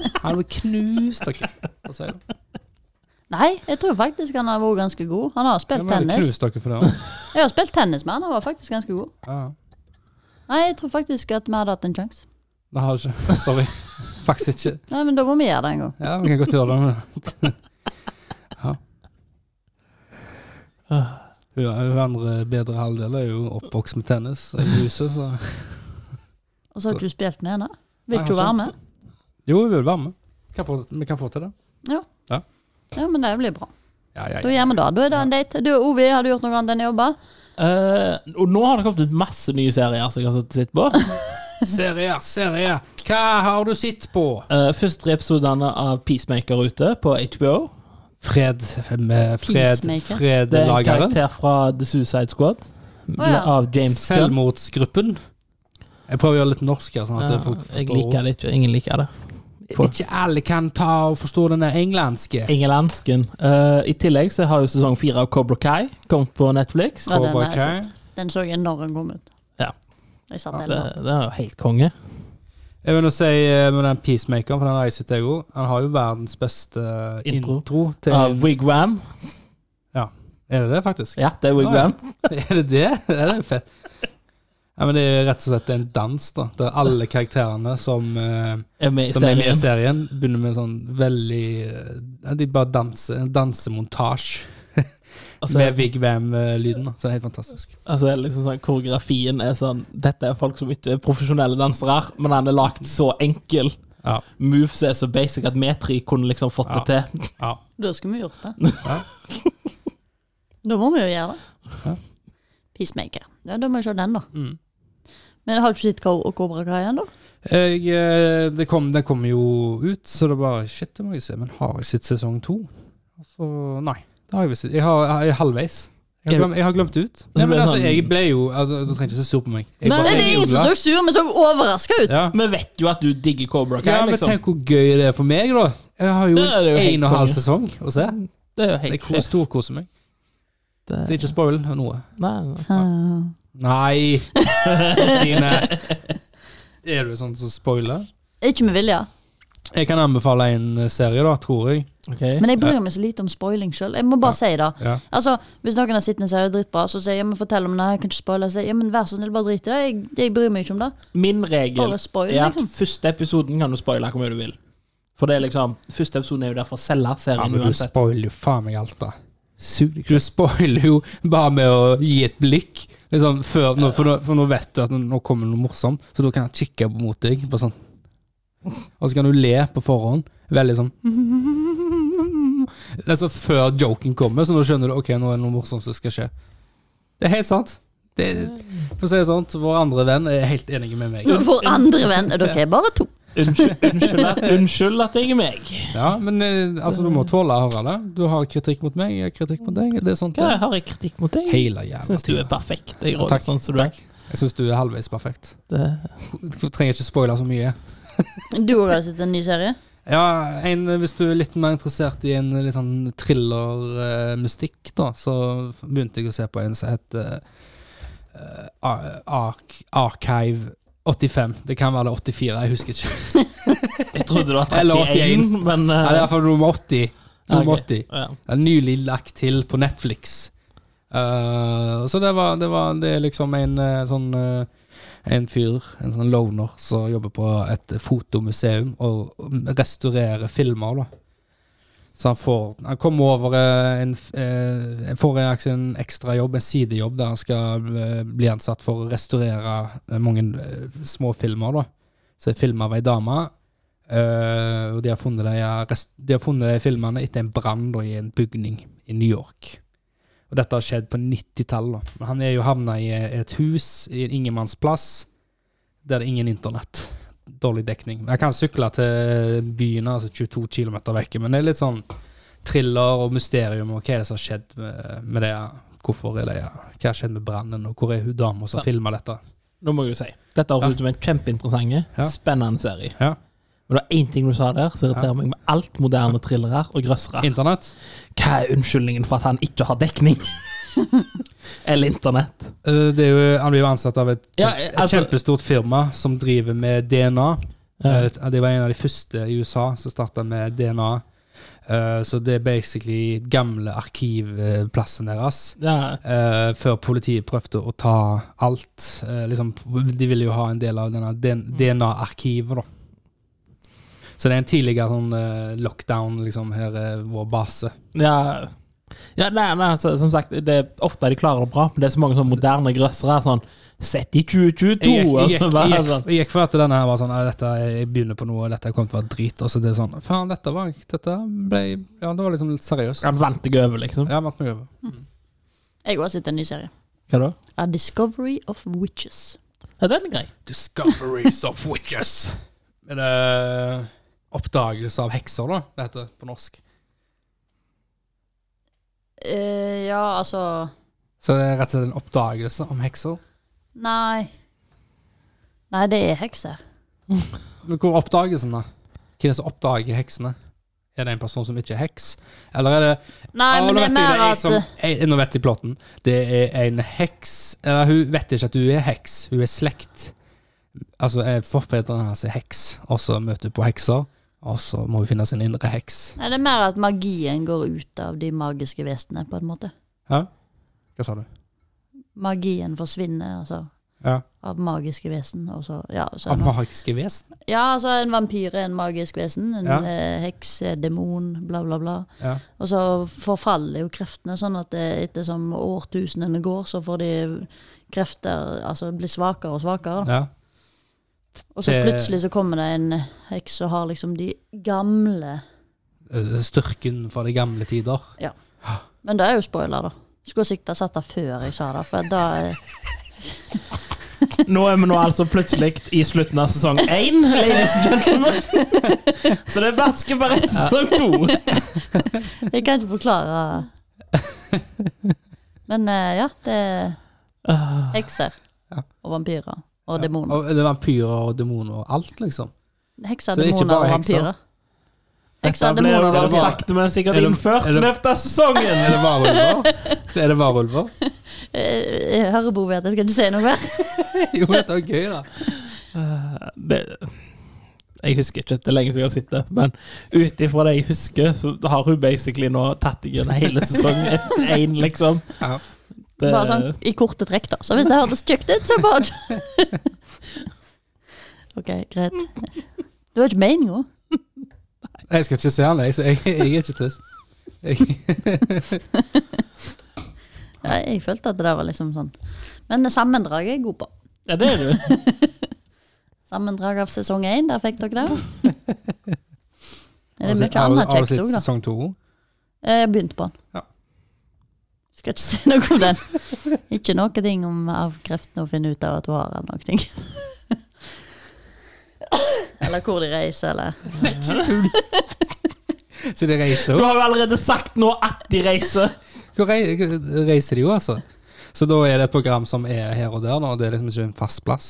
S2: Jeg hadde knust dere. Hva sier du?
S1: Nei, jeg tror faktisk han har vært ganske god. Han har
S2: Jeg
S1: spilt
S2: hadde
S1: tennis.
S2: knust dere for det.
S1: Jeg har spilt tennis med han, han var faktisk ganske god.
S2: Ja.
S1: Nei, jeg tror faktisk at vi hadde hatt en sjanse.
S2: Det har jeg ikke. Sorry. Faktisk ikke.
S1: Nei, men da må vi gjøre det en gang.
S2: Ja, vi kan godt gjøre det. men- Ja. Hun, hun andre bedre halvdel er jo oppvokst med tennis i huset, så
S1: Og så har ikke du spilt med henne.
S2: Nei,
S1: Vil ikke
S2: altså.
S1: hun være med?
S2: Jo, hun vil være med. Kan få, vi kan få til det.
S1: Ja, men det blir bra.
S2: Ja, ja,
S3: Oh,
S1: Da
S2: ja.
S1: gjør vi det. Da er det en date. Du og Ovi, har du gjort noe annet enn å jobbe?
S3: Eh, og nå har det kommet ut masse nye serier som jeg har sittet på.
S2: Serier, serier! Hva har du sett på?
S3: Eh, først tre episodene av Peacemaker ute på HBO.
S2: Fred med Fred,
S1: Peacemaker.
S3: Det er en
S2: Fredlageren.
S3: karakter fra The Suicide Squad
S1: ja.
S3: av James Gunn.
S2: Selvmordsgruppen. Jeg prøver å gjøre litt norsk her, sånn at
S3: Ja,
S2: folk
S3: jeg
S2: forstår.
S3: liker det ikke. Ingen liker det. folk.
S2: Ikke alle kan ta og forstå denne englandske.
S3: Engelsken. Eh, I tillegg så har jo sesong fire av Cobra Kai kommet på Netflix.
S1: Ja, den,
S2: Cobra
S1: har
S2: Kai.
S1: jeg sett. den så jeg når den kom ut.
S3: Ja.
S1: Jeg satt
S3: Det,
S1: hele natten.
S3: det er jo helt konge.
S2: Jeg vil nå si eh, med den peacemakeren, for den har jeg sett, jeg òg. Han har jo verdens beste eh, intro,
S3: Intro.
S2: til
S3: Av Wigwam.
S2: Er det det, faktisk?
S3: Ja, det er Wigwam.
S2: er det det? Ja, det er jo fett. Ja, men Det er jo rett og slett en dans, da. Der alle karakterene som, eh,
S3: Er med i
S2: som er med i
S3: serien.
S2: serien, begynner med en sånn veldig eh, ja, De bare danser. En dansemontasje
S3: Altså,
S2: med Vig Vam-lyden. da. Så det er helt fantastisk.
S3: altså, det er liksom sånn, koreografien er sånn Dette er folk som ikke er profesjonelle dansere, men han er lagd så enkel.
S2: Ja.
S3: Moves er så basic at vi tre kunne liksom fått det til.
S2: ja.
S1: Da skulle vi gjort det.
S2: Ja.
S1: da må vi jo gjøre det.
S2: Ja.
S1: Peacemaker. Ja, da må jeg se den, da.
S2: Mm.
S1: Men har du ikke sett Ko- Cobra Kai ennå?
S2: Jeg, eh, det kom, den kom jo ut, så det bare Shit, det må jeg se. Men har jeg sett sesong to? Altså, nei. Det har jeg visst ikke. Jeg, har- jeg er halvveis. Jeg har,
S3: Skal
S2: glemt, jeg har glemt det ut.
S3: Så
S2: Nei,
S3: ble
S2: men
S3: det
S2: altså,
S3: sånn-
S2: jeg ble jo altså, Du trenger ikke se sur på meg. Jeg
S3: Nei,
S1: Nei,
S2: bare-
S1: det er ingen som så sur, men så overraska ut.
S2: ja.
S3: Vi vet jo at du digger Cobra Kai,
S2: ja, men
S3: liksom.
S2: tenk hvor gøy det er for meg, da. Jeg har jo
S3: Det er jo helt
S2: en og en halv sesong
S3: konge.
S2: å se.
S3: Det er jo
S2: Jeg
S3: helt
S2: ko- storkoser meg.
S3: sjukt.
S2: Så ikke spoil noe.
S3: Nei, nei.
S1: Ah.
S2: Nei, Stine. Er du sånn som spoiler?
S1: Ikke med vilje,
S2: Jeg kan anbefale en serie, da, tror jeg.
S3: Ok.
S1: men jeg bryr meg så lite om spoiling sjøl. Jeg må bare si det.
S2: Ja.
S1: Altså, Hvis noen har sett en serie dritbra, så sier jeg ja, men fortell om det. Jeg kan ikke spoile. Så sier jeg, ja, men vær så snill, bare drit i det. Jeg, jeg bryr meg ikke om det.
S3: Min regel
S1: Bare spoil,
S3: er at
S1: liksom.
S3: første episoden kan du spoile hvor mye du vil. For det er liksom, første episoden er jo der for å selge
S2: Ja,
S3: serien
S2: men du
S3: uansett.
S2: spoiler jo faen meg alt, da.
S3: Sug
S2: Du spoiler jo bare med å gi et blikk. Liksom, før, nå, for, nå, for nå vet du at nå kommer det noe morsomt, så da kan han kikke mot deg. Bare sånn. Og så kan du le på forhånd. Veldig sånn Det er så før joken kommer, så nå skjønner du Ok, nå er det noe morsomt som skal skje. Det er helt sant. Det, for å si det sånn, vår andre venn er helt enig med meg.
S1: Vår andre venn er dere bare to.
S3: Unnskyld, unnskyld, at, unnskyld at jeg er meg.
S2: Ja, Men eh, altså, du må tåle å høre det. Du har kritikk mot meg, jeg har kritikk mot deg. Det er sånt.
S3: Hva
S2: det er.
S3: har jeg kritikk mot deg?
S2: Hele jævla
S3: Syns du er
S2: tiden.
S3: perfekt. Jeg
S2: Takk,
S3: råder sånn som du er.
S2: Jeg syns du er halvveis perfekt.
S3: Det,
S2: Du trenger ikke spoile så mye.
S1: Du òg har sett en ny serie?
S2: Ja, en, eh, Hvis du er litt mer interessert i en litt sånn thriller-mystikk, da, så begynte jeg å se på en som heter eh, Ar- Ark, Archive 85. Det kan være det 84, jeg husker ikke.
S3: jeg trodde du var
S2: Eller
S3: 31, men eh,
S2: Nei, det er iallfall nummer 80. Nummer 80.
S3: Ja.
S2: Det er nylig lagt til på Netflix. Eh, så det var, det var Det er liksom en eh, sånn eh, En fyr, en sånn loner, som jobber på et fotomuseum og mm, restaurerer filmer, da. Så han får Han kommer over eh, en f- eh, Får en, slags en ekstra jobb, en sidejobb, der han skal eh, bli ansatt for å restaurere eh, mange eh, små filmer, da. Så er film av ei dame. Eh, og de har funnet de, rest, de har funnet de filmene etter en brann da i en bygning i New York. Og dette har skjedd på 90-tallet. da. Men han er jo havna i et hus i en ingenmannsplass der det er ingen internett. Dårlig dekning. Jeg kan sykle til byen, altså 22 km vekk, men det er litt sånn thriller og mysterium. Og hva er det som har skjedd med, med det? Hvorfor er det Hva har skjedd med brannen, og hvor er hun dama som
S3: Sant.
S2: filma dette?
S3: Nå må jeg jo si. Dette høres ut som en kjempeinteressant,
S2: Ja.
S3: spennende serie.
S2: Ja.
S3: Men det var én ting du sa der som irriterer meg med alt moderne thrillere og grøssere.
S2: Internett?
S3: Hva er unnskyldningen for at han ikke har dekning? Eller internett.
S2: Eh, Det er jo, han blir jo ansatt av et,
S3: Ja,
S2: kjempe-
S3: altså-
S2: et kjempestort firma som driver med DNA. Eh, Det var en av de første i USA som starta med DNA. Eh, Så det er basically gamle arkivplassen deres.
S3: Ja.
S2: Eh, før politiet prøvde å ta alt. Eh, liksom, de ville jo ha en del av denne
S3: Mm.
S2: DNA-arkivet, da. Så det er en tidligere sånn eh, lockdown, liksom. Her er vår base.
S3: Ja, ja nei, nei, så, som sagt, det er ofte de klarer det bra, men det er så mange sånne moderne grøssere sånn Sett i 2022!
S2: Jeg gikk,
S3: og
S2: jeg,
S3: så
S2: gikk,
S3: bare
S2: jeg,
S3: sånn.
S2: gikk, jeg gikk for at denne her var sånn «Nei, dette, Jeg begynner på noe, og dette kommer til å være drit. Og så det er sånn Faen, dette var Dette ble Ja, det var liksom litt seriøst.
S3: sånn, Han vant deg over, liksom.
S2: Jeg har vært meg over.
S1: Jeg har også sett en ny serie.
S3: Hva da?
S1: A Discovery of Witches.
S3: Ja, den er grei.
S2: Discoveries of Witches. Er det Oppdagelse av hekser, da? Det heter på norsk.
S1: Eh, ja, altså
S2: Så det er rett og slett en oppdagelse om hekser.
S1: Nei. Nei, det er hekser.
S2: Men hvor er oppdagelsen, da? Hvem er det som oppdager heksene? Er det en person som ikke er heks? Eller er det
S1: Nei,
S2: Ja,
S1: men
S2: nå
S1: det er
S2: vet jeg
S1: mer
S2: jeg
S1: at eh,
S2: som, jeg, Nå vet jeg plotten. Det er en heks Eller hun vet ikke at hun er heks, hun er slekt. Altså, eh, forfedrene hennes er heks, og så møter hun på hekser, og så må hun finne sin indre heks.
S1: Nei, det er mer at magien går ut av de magiske vesenene, på en måte.
S2: Hva sa du?
S1: Magien forsvinner, altså.
S2: Ja.
S1: Av magiske vesen. Og så, ja, så er det
S2: Av
S1: noe-
S2: magiske vesen?
S1: ja, altså en vampyr er en magisk vesen. En
S2: Ja.
S1: eh, heks er demon, bla, bla, bla.
S2: Ja.
S1: Og så forfaller jo kreftene, sånn at det, etter som årtusenene går, så får de krefter Altså blir svakere og svakere. da.
S2: ja.
S1: Og så
S2: det-
S1: plutselig så kommer det en heks og har liksom de gamle
S2: Eh, Styrken fra de gamle tider.
S1: Men det er jo spoiler, da. Skulle sikkert ha satt det før jeg sa det, for da eh,
S3: Nå er vi nå altså plutselig i slutten av sesong én, ladies and gentlemen. Så det er verken bare etter sesong to.
S1: Jeg kan ikke forklare Men eh, ja, det er
S3: Ah,
S1: hekser
S2: Ja.
S1: og vampyrer og
S2: Ja.
S1: demoner.
S2: Og det er vampyrer og demoner og alt, liksom.
S1: Hekser,
S2: Så det er ikke
S1: demoner og
S2: bare hekser?
S1: vampyrer.
S3: Dette
S1: Hekser,
S3: ble
S1: demoner
S3: jo
S1: og
S2: er det
S1: vampyrer.
S2: bare-
S3: sakte, men sikkert
S2: Er det-
S3: innført
S2: er
S3: i
S2: det-
S3: løpet av sesongen.
S2: Er det varulver? Er det varulver?
S1: Eh, Jeg hører Bo vet, jeg skal ikke si noe mer.
S2: Jo, dette er gøy, da.
S3: Eh, det, jeg husker ikke, det er lenge siden jeg har sett det, men ut ifra det jeg husker, så har hun basically nå tatt deg gjennom hele sesong én, liksom.
S2: Ja.
S3: Det,
S1: Bare sånn i korte trekk, da. Så hvis det hørtes kjekt ut, så bare OK, greit. Du har ikke meninga?
S2: Jeg skal ikke se han, jeg, så jeg, jeg er ikke trist. Jeg,
S1: Ja, jeg følte at det der var liksom sånn. Men sammendraget er jeg god på.
S3: Ja, det er du.
S1: Sammendrag av sesong én, der fikk dere det. Er det
S2: Har du sett-
S1: mye
S2: har du-
S1: annet
S2: Har du
S1: kjekt
S2: sett
S1: òg, da?
S2: sesong to?
S1: Eh, Jeg begynte på den.
S2: Ja.
S1: Skal ikke si noe om den. Ikke noe ting om av kreftene å finne ut av at du har, eller noe. ting. Eller hvor de reiser, eller
S2: Så de reiser
S3: Du
S2: jo.
S3: har jo allerede sagt nå at de reiser.
S2: Hvor rei- reiser de jo, altså? Så da er det et program som er her og der, da, og det er liksom ikke en fast plass.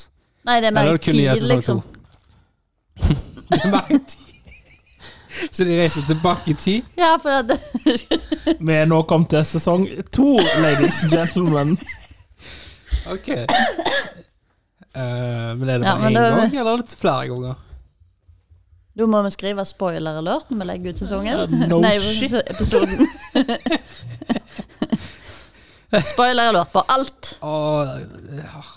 S1: Nei, liksom. det er mer
S2: Eller kun i
S1: tid,
S2: sesong
S1: liksom.
S2: to. Det er bare en tid. Så de reiser tilbake i tid?
S1: Ja, for at
S3: Vi er nå kommet til sesong to, ladies and gentlemen.
S2: Ok. Eh, men er det
S1: Ja,
S2: bare
S1: men
S2: én
S1: da-
S2: gang, eller er det flere ganger?
S1: Da må vi skrive spoiler alert når vi legger ut sesongen.
S3: No
S1: Nei,
S3: shit.
S1: episoden. spoiler alert på alt.
S2: Og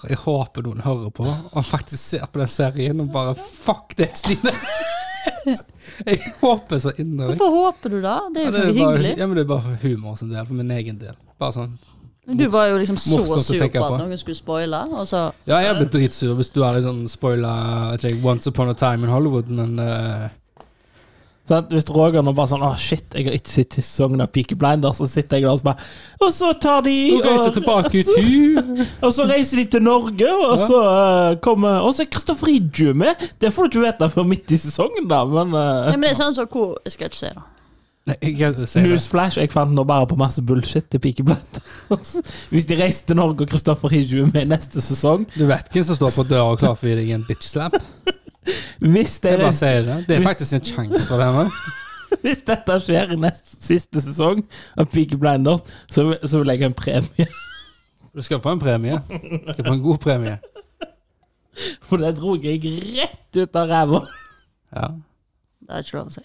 S2: jeg håper noen hører på og faktisk ser på den serien og bare Fuck det, Stine! Jeg håper så inderlig.
S1: Hvorfor håper du da? Det er jo
S2: Ja,
S1: så
S2: det er bare,
S1: hyggelig.
S2: ja, men det er bare for humor sin del, for min egen del. Bare sånn.
S1: Du var jo liksom så
S2: Morsomt å
S1: sur
S2: tenke
S1: på at
S2: på.
S1: noen skulle spoile, og så
S2: Ja, jeg blir dritsur hvis du hadde sånn spoila vet ikke, Once Upon a Time in Hollywood, men eh,
S3: Sant? hvis Roger nå bare sånn Å, shit, jeg har ikke sett sesongen av Peaky Blinders, så sitter jeg der og så bare Og så tar de
S2: Hun reiser
S3: og-
S2: tilbake i
S1: altså.
S2: tid!
S3: Og så reiser de til Norge, og
S2: Ja.
S3: så eh, kommer Og så er Kristoffer Idju med! Det får du ikke vite før midt i sesongen, da, men
S1: Nei,
S3: eh,
S1: men det er sånn som hvor Jeg skal ikke si det.
S2: Nei, jeg kan ikke si det.
S3: Newsflash, jeg fant nå bare på masse bullshit til Peaky Blinders. Hvis de reiser til Norge og Kristoffer Idju er med neste sesong
S2: Du vet hvem som står på døra og klar for å gi deg en bitch slap?
S3: Hvis de
S2: Jeg bare
S3: reiser
S2: sier det. Det er faktisk en sjanse for det. men.
S3: Hvis dette skjer i neste siste sesong av Peaky Blinders, så, så vil jeg ha en premie.
S2: Du skal få en premie. Du skal få en god premie.
S3: For det dro jeg rett ut av ræva.
S2: Ja.
S1: Det er ikke lov å si.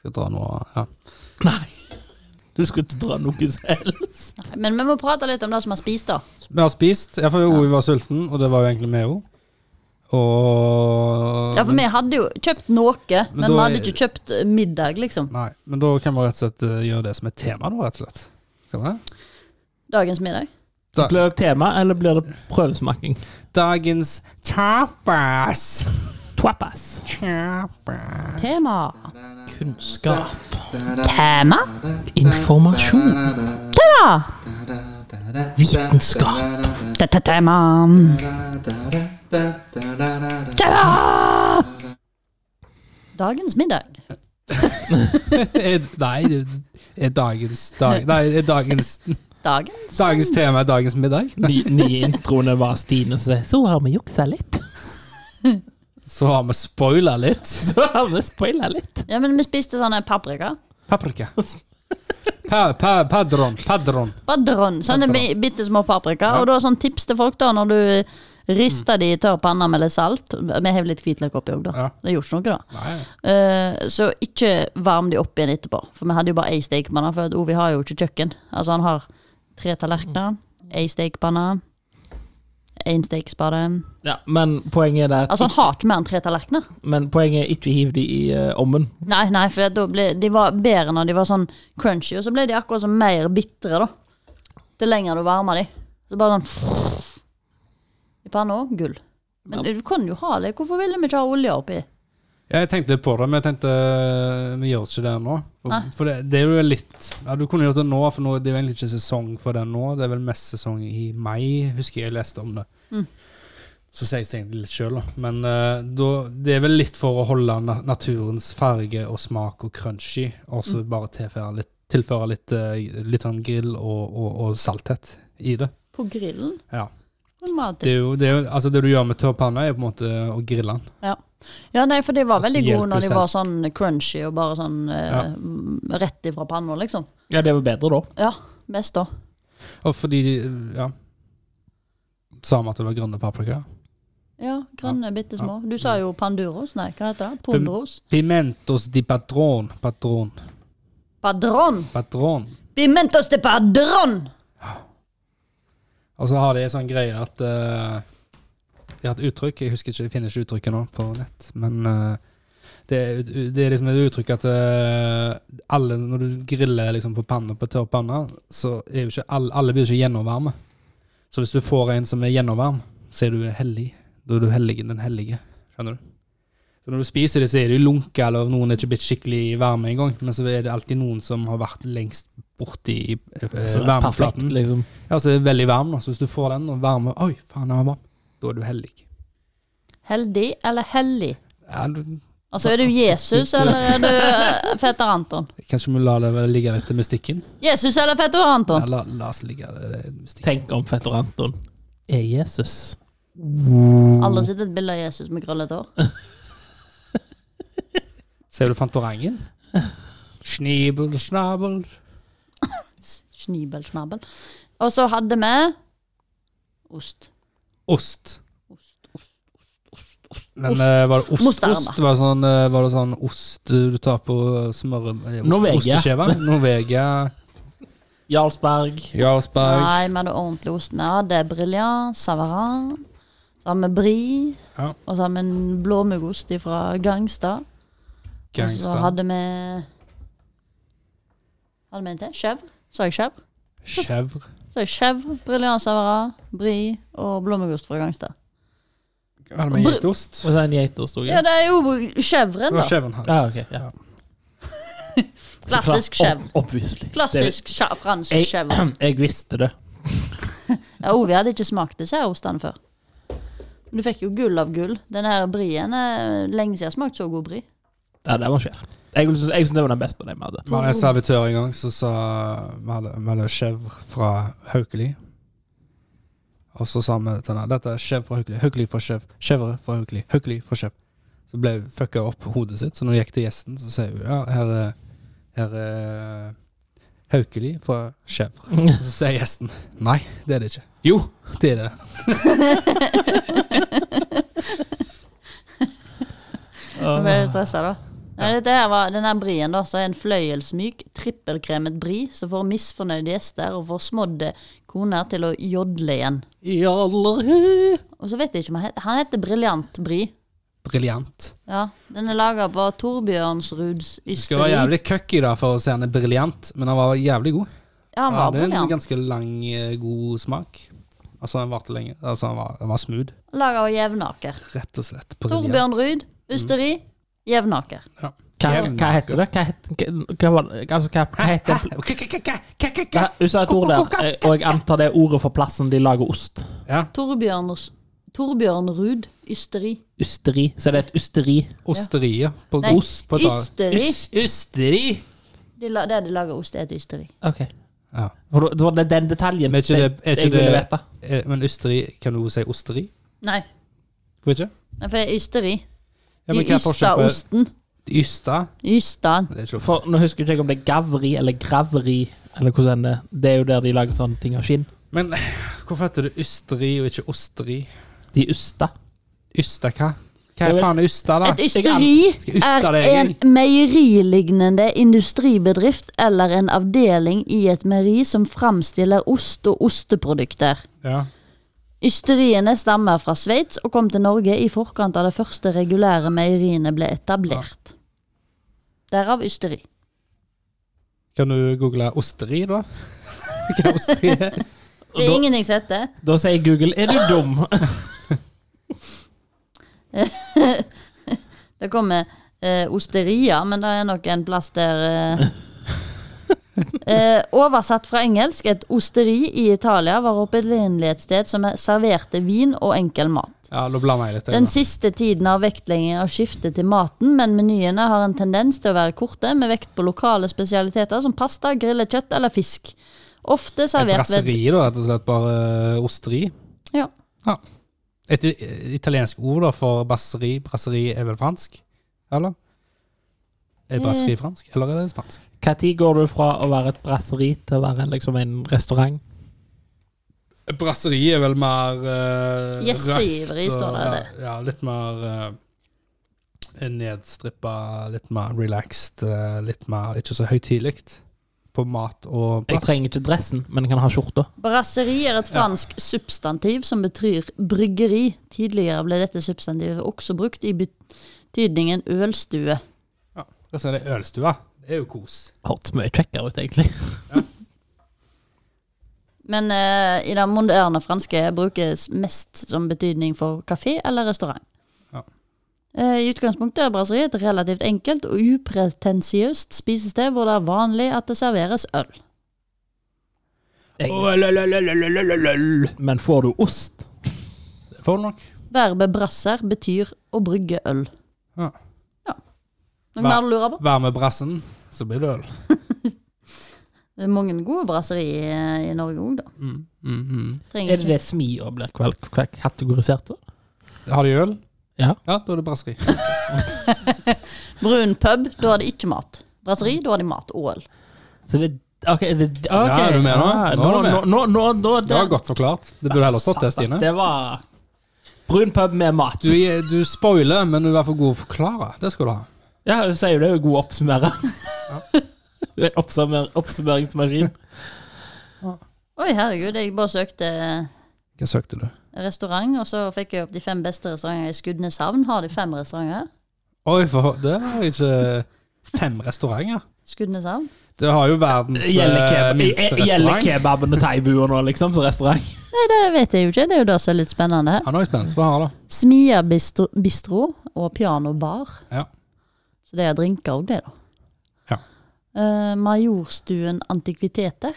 S2: Skal dra noe ja.
S3: Nei. Du skulle ikke dra noe selv.
S1: Nei, Men vi må prate litt om det som har spist, da.
S2: Vi har spist. Ja, for Ovi var sulten, og det var jo egentlig vi òg. Og
S1: Ja, for vi hadde jo kjøpt noe, men,
S2: da
S1: vi
S2: er-
S1: hadde ikke kjøpt eh, middag, liksom.
S2: Nei, men da kan vi rett og slett eh, gjøre det som et tema, da, rett og slett. Skal vi det?
S1: Dagens middag.
S2: Da,
S3: Blir det tema, eller blir det prøvesmaking?
S2: dagens tapas.
S3: Twapas.
S2: Tapas.
S1: Tema.
S3: Kunnskap.
S1: Tema?
S3: Informasjon.
S1: Tema!
S3: Vitenskap.
S1: Dette er tema. Tema! Dagens middag.
S2: Er- Nei, det er dagens dag, Nei, er dagens,
S1: Dagens
S2: dagens tema er dagens middag.
S3: Ny, nye introene var Stine som sier Så har vi juksa litt.
S2: Så har vi spoila litt.
S3: Så har vi spoila litt.
S1: Ja, men vi spiste sånne paprika.
S2: Paprika. Pa, pa, padron. Padron.
S1: Badron. Sånne bi bitte små paprika. Og da sånn tips til folk, da, når du rister de i tørr panne med litt salt Vi hever litt hvitløk oppi òg, da.
S2: Ja.
S1: Det gjorde ikke noe, da.
S2: Nei.
S1: Eh, så ikke varm de opp igjen etterpå. For vi hadde jo bare ei stekepanne, for at Ovi har jo ikke kjøkken. Altså han har tre tallerkener, ei stekepanne, én stekespade
S3: Ja, men poenget er det
S1: Altså han har ikke mer enn tre tallerkener.
S3: Men poenget er ikke hiv de i eh, ommen.
S1: Nei, nei, for da ble, de var bedre når de var sånn crunchy, og så ble de akkurat som mer bitre, da. Det lenger du varmer de. Så bare sånn I panna òg, gull. Men du kan jo ha det. Hvorfor ville vi ikke ha olje oppi?
S2: Jeg tenkte litt på det, men jeg tenkte eh, vi gjør ikke det nå. For,
S1: Nei.
S2: for det, det er jo litt ja, Du kunne gjort det nå, for nå, det er jo egentlig ikke sesong for det nå. Det er vel mest sesong i mai, husker jeg jeg leste om det. Så sier jeg det egentlig litt sjøl, da. Men eh, da, det er vel litt for å holde na naturens farge og smak og crunchy, og så bare tilføre litt, tilføre litt, eh, litt sånn grill og, og, og salthet i det.
S1: På grillen?
S2: Ja.
S1: Hvor mat-
S2: Det, er jo, det, er jo, altså det du gjør med tørrpanne, er på en måte å grille den.
S1: Ja, nei, for de var
S2: Og så
S1: veldig gode
S2: hjelper
S1: når de
S2: selv.
S1: var sånn crunchy og bare sånn eh,
S2: Ja.
S1: m- rett ifra panna, liksom.
S3: Ja, det var bedre da.
S1: Ja, mest da.
S2: Og fordi Ja. Sa vi at det var grønne paprika?
S1: Ja, grønne, bitte små. Du sa jo panduros, nei, hva heter det? Pondros?
S2: Pimentos di patron. Patron.
S1: Padron!
S2: Patron.
S1: Pimentos de padron!
S2: Og så har de en sånn greie at eh, De har et uttrykk, jeg husker ikke, jeg finner ikke uttrykket nå på nett, men eh, det, er ut- det er liksom et uttrykk at eh, alle, når du griller liksom på panna, på tørr panne, så er jo ikke alle, alle blir jo ikke gjennomvarme. Så hvis du får en som er gjennomvarm, så er du hellig. Da er du hellig den hellige. Skjønner du? Så når du spiser det, så er du lunke, eller noen er ikke blitt skikkelig varme engang, men så er det alltid noen som har vært lengst borti eh,
S3: Så det er perfekt,
S2: varmeflaten.
S3: liksom.
S2: Ja, så er det veldig varm, da. Så hvis du får den og varmer Oi, faen, den var varm. Da er du hellig.
S1: Heldig eller hellig?
S2: Ja, du,
S1: Altså, er du Jesus eller er du eh, fetter Anton?
S2: kanskje vi lar det vel ligge litt til mystikken?
S1: Jesus eller fetter
S2: Ja,
S1: Anton?
S2: la, la oss ligge det til mystikken.
S3: Tenk om fetter Anton er Jesus.
S1: Alle sitter et bilde av Jesus med krøllete hår.
S2: Ser du Fantorangen? Snibel, snabel
S1: Snibel, snabel. Og så hadde vi ost.
S2: Ost.
S1: Ost, ost.
S2: Men
S1: Ost.
S2: eh, var det ost,
S1: Mozzarella.
S2: ost? Var det, sånn, eh, var det sånn ost du tar på smør... eh, ost-
S3: Norvegia.
S2: Osteskjeve? Norvegia.
S3: Jarlsberg.
S2: Jarlsberg.
S1: Nei, vi hadde ordentlig ost. Vi hadde Brilliant, Savarin, så har vi Brie,
S2: Ja.
S1: og så har vi en blåmuggost fra Gangstad. Og så
S2: Gangster.
S1: altså, hadde vi Hadde vi en til? Chèvre. Sa jeg chèvre?
S2: Chèvre.
S1: Sa jeg chèvre, Brilliant, Savarin, Brie og blåmuggost fra Gangstad.
S2: Hadde vi geitost?
S3: Og så en geitost òg.
S1: Ja, det er jo
S2: Det
S1: chèvren,
S2: var
S1: da.
S2: chèvren her.
S3: Ja, Ah, ok, ja.
S1: Klassisk chèvre.
S3: Obviously.
S1: Klassisk cha- fransk
S3: Jeg-
S1: chèvre.
S3: Jeg visste det.
S1: Ja, Ovi hadde ikke smakt dessertostene før. Men Du fikk jo gull av gull. Den her brien er lenge siden jeg har smakt så god brie.
S3: Ja, det var skjevt. Jeg syns jeg synes det var den beste av dem vi hadde.
S2: Vi hadde en servitør en gang som sa Vi hadde- vi hadde chèvre fra Haukeli. Og så sa vi til henne dette er chèvre fra Haukeli, Haukeli fra chèvre, chèvre fra Haukeli, Haukeli fra chèvre. Så ble fucka opp hodet sitt, så når hun gikk til gjesten, så sier hun ja, her er, her er Haukeli fra Chèvre. Så sier gjesten nei, det er det ikke. Jo, det er det.
S1: Jeg ble litt stressa, da. Nei, dette her var, denne brien da, så er en fløyelsmyk, trippelkremet bri som får misfornøyde gjester og får smådde koner til å jodle igjen.
S2: Jalla.
S1: Og så vet jeg ikke om han heter Han heter Briljant Bri.
S2: Briljant.
S1: Ja, Den er laga på Torbjørnsruds
S2: Du skal være
S1: ysteri.
S2: jævlig køkk i dag for å se han er briljant, men han var jævlig god.
S1: Ja, han
S2: Han
S1: var
S2: hadde en
S1: briljant.
S2: ganske lang, eh, god smak. Altså, han varte lenge. Altså, han var, han var smooth,
S1: Laga av Jevnaker.
S2: rett og slett.
S1: Torbjørnrud ysteri. Jevnaker.
S2: Ja.
S3: Hva, hva heter det? Hva heter, hva, var det? altså, hva, hva heter
S2: Hæ? K- k- k- k- k- k-
S3: hva,
S2: k-
S3: Hun sa et ord der, eh, og jeg antar det er ordet for plassen de lager ost.
S2: Ja,
S1: Torbjørners, Torbjørnrud ysteri.
S3: Ysteri. Så det er et ysteri.
S2: osteriet på
S1: Nei,
S2: ost på
S1: ysteri.
S2: Ysteri!
S1: De la, der de lager ost, er et ysteri.
S3: Ok.
S2: Ja.
S3: For det- det var det- den detaljen
S2: Men er ikke det- er ikke
S3: jeg ville
S2: det-
S3: vite.
S2: Eh, Men ysteri, kan du si osteri?
S1: Nei,
S2: Hvorfor ikke?
S1: Nei, for det er ysteri.
S2: Ja,
S1: De
S2: men hva er
S1: ysta
S2: forskjellen på-
S1: osten.
S2: Ysta?
S1: Ystan.
S2: Det er ikke lov å
S3: For nå husker ikke jeg om det er gavri eller graveri, eller hvordan det er. Det er jo der de lager sånne ting av skinn.
S2: si. Men eh, hvorfor heter det ysteri og ikke osteri?
S3: De ysta.
S2: Ysta hva? Hva
S3: Det er
S2: er
S3: vel-
S2: faen ysta, da?
S1: Et ysteri
S2: Skal jeg yste
S1: er
S2: deg,
S1: en meierilignende industribedrift eller en avdeling i et meieri som framstiller ost og osteprodukter.
S2: Ja.
S1: Ysteriene stammer fra Sveits og kom til Norge i forkant av det første regulære meieriene ble etablert. Derav ysteri.
S2: Kan du google osteri, da? Hva er osteri?
S1: Det er ingenting som heter
S3: Da sier Google 'er du dum'?
S1: Det kommer eh, osteria, men det er nok en plass der eh. eh, Oversatt fra engelsk, et osteri i Italia var opprinnelig et sted som serverte vin og enkel mat.
S2: Ja, nå blander jeg litt. jeg,
S1: Den
S2: da.
S1: siste tiden har vektleggingen av skiftet til maten, men menyene har en tendens til å være korte, med vekt på lokale spesialiteter som pasta, grillet kjøtt eller fisk. Ofte
S2: Et
S1: servert ved
S2: brasseri, da, rett og slett. Bare eh, osteri.
S1: ja.
S2: Et i- italiensk ord da for brasseri. Brasseri er vel fransk? Eller?
S1: Eh.
S2: Er brasseri fransk, eller er det spansk?
S3: Når går du fra å være et brasseri til å være liksom en restaurant?
S2: Brasseri er vel mer uh,
S1: Gjesteivrig, står det,
S2: Ja, ja, litt mer eh, nedstrippa, litt mer relaxed, eh, litt mer ikke så høytidelig på mat og
S3: Jeg
S2: plass.
S3: trenger ikke dressen, men jeg kan ha skjorta.
S1: Brasseri er et fransk substantiv som betyr bryggeri. Tidligere ble dette substantivet også brukt i betydningen ølstue.
S2: Ja, og så er det ølstua. Det er jo kos.
S3: Hørtes mye kjekkere ut, egentlig.
S1: Men eh, i det moderne franske brukes mest som betydning for kafé eller restaurant.
S2: Ja.
S1: Eh, I utgangspunktet er brasseri et relativt enkelt og upretensiøst spisested hvor det er vanlig at det serveres øl.
S3: Men får du ost?
S2: Det får du nok.
S1: Verbet brasser betyr å brygge øl.
S2: Ja.
S1: Noe
S2: Hva-
S1: mer du lurer på?
S2: Vær med brassen, så blir det øl.
S1: Det er mange gode brasseri i, i Norge òg, da.
S2: Mm, mm, mm.
S1: Trenger
S3: Er det
S1: ikke.
S3: det smia blir kval- kva- kategorisert da?
S2: Har de øl?
S3: Ja.
S2: Ja, da er det brasseri.
S1: Brun pub, da er det ikke mat. Brasseri, da er det mat og øl.
S3: Så det Ok, det, ok.
S2: Ja, er du med nå?
S3: Ah,
S2: Nå er du med.
S3: Nå, nå, nå, nå,
S2: Det var godt forklart. Det burde heller stått det, Stine.
S3: Det var brun pub med mat.
S2: Du, eh, du spoiler, men du er i hvert fall god til å forklare. Det skal du ha.
S3: Ja, hun sier jo det er jo god oppsummerer. Du er en oppsummer, oppsummeringsmaskin.
S1: Oi, herregud, jeg bare søkte
S2: Hva søkte du?
S1: restaurant, og så fikk jeg opp de fem beste restaurantene i Skudeneshavn. Har de fem restauranter her?
S2: Oi, for det var ikke fem restauranter.
S1: Skudeneshavn?
S2: Det har jo verdens
S3: Gjelder
S2: eh,
S3: kebab-
S2: minste
S3: eh, Gjelder
S2: restaurant.
S3: kebaben og thaibua nå, liksom, som restaurant?
S1: Nei, det vet jeg jo ikke. Det er jo det som er litt spennende her.
S2: Ja, nå er jeg spent. Hva har du?
S1: Smia bistro, bistro og pianobar.
S2: Ja.
S1: Så det er drinker òg, det, da.
S2: Ja.
S1: Eh, Majorstuen Antikviteter.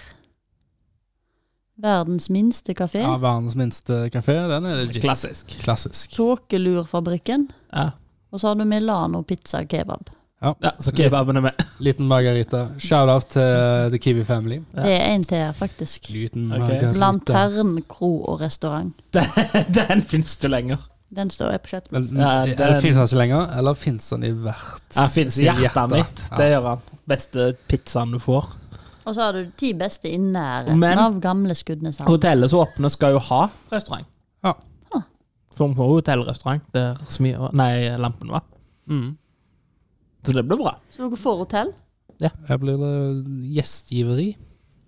S1: Verdens minste kafé.
S2: ja, verdens minste kafé. Den er legit.
S3: Klassisk.
S2: Klassisk.
S1: Tåkelurfabrikken.
S3: Ja.
S1: Og så har du Milano pizza kebab.
S3: ja, så kebaben er med.
S2: Liten margarita. Shout-out til The Kiwi Family.
S3: Ja.
S1: Det er en til her, faktisk.
S2: Liten
S3: Ok.
S2: margarita.
S1: Lantern kro og restaurant.
S3: Den, den finnes ikke lenger.
S1: Den står jeg på chat.
S2: Men
S3: Ja,
S2: eller
S3: den-
S2: finnes han ikke lenger, eller finnes han i hvert
S3: Han finnes i
S2: sitt
S3: hjertet, mitt. Det
S2: Ja.
S3: gjør han. Beste pizzaen du får.
S1: Og så har du ti beste i nærheten
S3: Men-
S1: av gamle Skudenes hall.
S3: Hotellet som åpner, skal jo ha restaurant.
S2: Ja.
S1: Ah.
S3: Form for hotellrestaurant der smia var Nei, lampen var.
S2: Mm.
S3: Så det blir bra.
S1: Så dere får hotell?
S2: Her blir det gjestgiveri.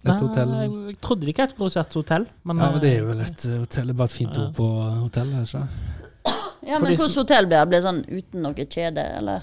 S2: Et hotell.
S3: Nei, jeg trodde de kategoriserte hotell, men,
S2: Ja, men det er vel et hotell. Det er bare et fint ord på hotell, er det
S3: Eh.
S2: ikke?
S1: Ja,
S3: For
S1: men
S3: de som-
S1: hvordan hotell blir det? Blir det sånn uten noe kjede, eller?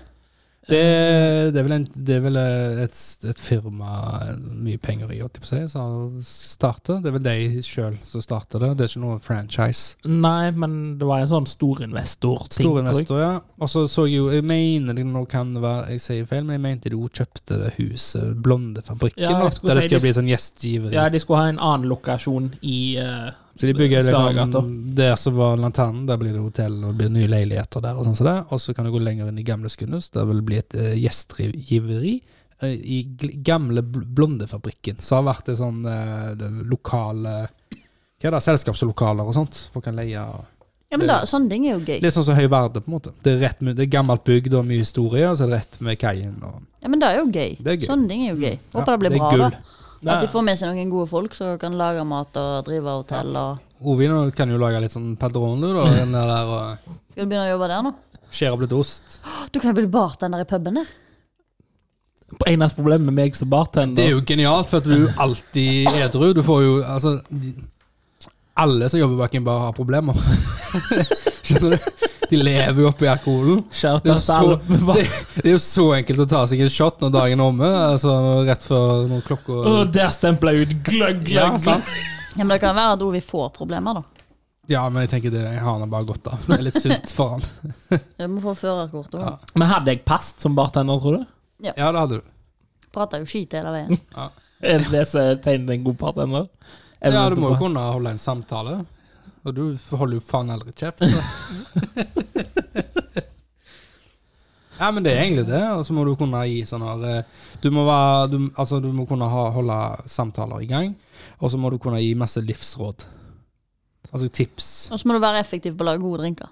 S2: Det, det er vel, en, det er vel eh, et, et firma eh, mye penger i, holdt jeg på å si, som starter. Det er vel de sjøl som starter det. Det er ikke noe franchise.
S3: eh, Nei, men det var en sånn storinvestor-ting.
S2: Store
S3: tror jeg.
S2: investor, ja. Og så så jeg jo Jeg mener det nå kan være Jeg sier feil, men jeg mente de også kjøpte det huset, Blondefabrikken,
S3: Ja, jeg
S2: nå,
S3: skulle
S2: der det
S3: si
S2: skal
S3: de-
S2: bli sånn gjestgiveri.
S3: Ja, de skulle ha en annen lokasjon i eh,
S2: så de bygger
S3: Saragata.
S2: liksom der som var lanternen, der blir det hotell og det blir nye leiligheter der. Og sånn som det. Og så kan du gå lenger inn i gamle Skunnhus, der vil det bli et eh, gjestgiveri. eh, I gl- gamle Bl- Blondefabrikken, som har vært det sånn eh, det lokale Hva er det, selskapslokaler og sånt? Folk kan leie og
S1: Ja, men da, sånne ting er jo gøy.
S2: Litt sånn som Høyverde, på en måte. Det er, rett med, det er gammelt bygd og mye historie, og så er det rett med kaien. Og,
S1: Ja, men det er jo gøy.
S2: Det er gøy. Mm.
S1: Sånne ting er jo gøy. Håper
S2: Ja,
S1: det blir
S2: det er
S1: bra,
S2: gull.
S1: da. At de får med seg noen gode folk som kan lage mat og drive hotell og
S2: Ovin kan jo lage litt sånn padron, du, da. Den der, der og
S1: Skal du begynne å jobbe der nå?
S2: skjære opp litt ost.
S1: Du kan jo bli bartender i puben der.
S3: Eneste problemet med meg som bartender
S2: Det er jo genialt, for at du er alltid edru. Du får jo altså de, Alle som jobber bak en bar, har problemer. Skjønner du? De lever jo oppi alkoholen.
S3: Shout
S2: Det er,
S3: out til
S2: så,
S3: alle
S2: det, det er jo så enkelt å ta seg en shot når dagen er omme. Altså rett før når klokka
S3: Å, Der stempla jeg ut gløgg, gløgg,
S2: Ja, sant?
S3: gløgg.
S1: Ja, men det kan være at Ovi får problemer, da.
S2: Ja, men jeg tenker det har han bare godt av. Det er litt sunt for han.
S1: Du må få førerkort òg.
S2: Ja.
S3: Men hadde jeg passet som bartender, tror du?
S2: Ja, det hadde du.
S1: Prater jo skit hele veien.
S3: Er det det som er tegnet til en god bartender?
S2: Ja, du må jo
S3: Evnen til
S2: kunne holde en samtale. Og du holder jo faen aldri kjeft. så. ja, men det er egentlig det. Og så må du kunne gi sånne her, eh, Du må, være, du, altså, du må kunne ha, holde samtaler i gang. Og så må du kunne gi masse livsråd. Altså tips.
S1: Og så må du være effektiv på å lage gode drinker.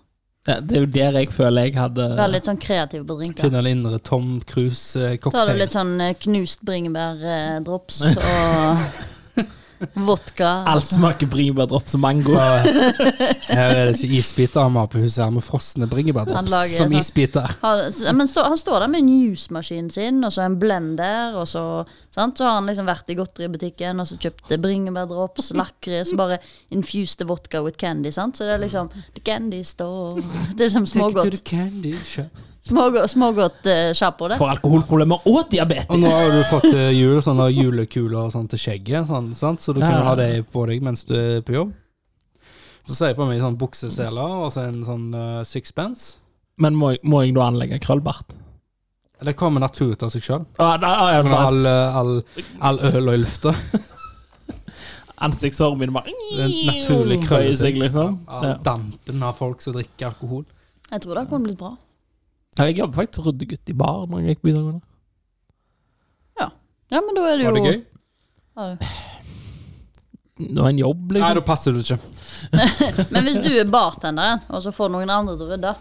S3: Ja, det er jo der jeg føler jeg hadde
S2: Eh,
S1: Være litt sånn kreativ på drinker.
S2: Finne den indre Tom
S1: Tar
S2: eh,
S1: du
S2: Cruise-cocktail.
S1: litt sånn eh, knust bringebærdrops og vodka
S3: Alt smaker bringebærdrops og mango.
S2: Her er det ikke isbiter han har på huset, her med frosne
S1: Han
S2: bringebærdrops
S1: lager
S2: som
S1: sånn-
S2: isbiter.
S1: Han, ja, men stå, han står der med en jusmaskinen sin, og så en blender, og så sant? Så har han liksom vært i godteributikken og så kjøpt bringebærdrops, lakris, bare infused vodka with candy. Sant? Så det er liksom The candy store Det er som
S2: Take it to
S1: smågodt
S2: the candy shop.
S1: Smågodt, smågodt eh, sjappo, det.
S3: For alkoholproblemer og diabetes.
S2: Og nå har du fått eh, jul, sånne julekuler og sånn til skjegget, sånn, sant? så du kan
S3: Ja.
S2: ha det på deg mens du er på jobb. Så ser jeg på meg sånn bukseseler og så en sånn eh, sixpence.
S3: Men må, jeg- må jeg da anlegge krøllbart?
S2: Det kommer naturlig av seg sjøl.
S3: Ah, da, ah, ja, bare
S2: All, eh, all, all øl og i lufta.
S3: Ansiktshåret mitt bare
S2: Det er En naturlig krølle.
S3: bøyer seg, liksom.
S2: All
S3: Ja.
S2: dampen av folk som drikker alkohol.
S1: Jeg tror det kunne blitt bra.
S3: Ja, Jeg jobbet faktisk som ryddegutt i bar når jeg gikk på videregående.
S1: Ja, men da er det jo
S2: Var det gøy?
S1: Ja, det-
S3: Det var en jobb,
S2: Nei,
S3: liksom.
S2: da passer du ikke.
S1: Men hvis du er bartenderen, og så får noen andre til å rydde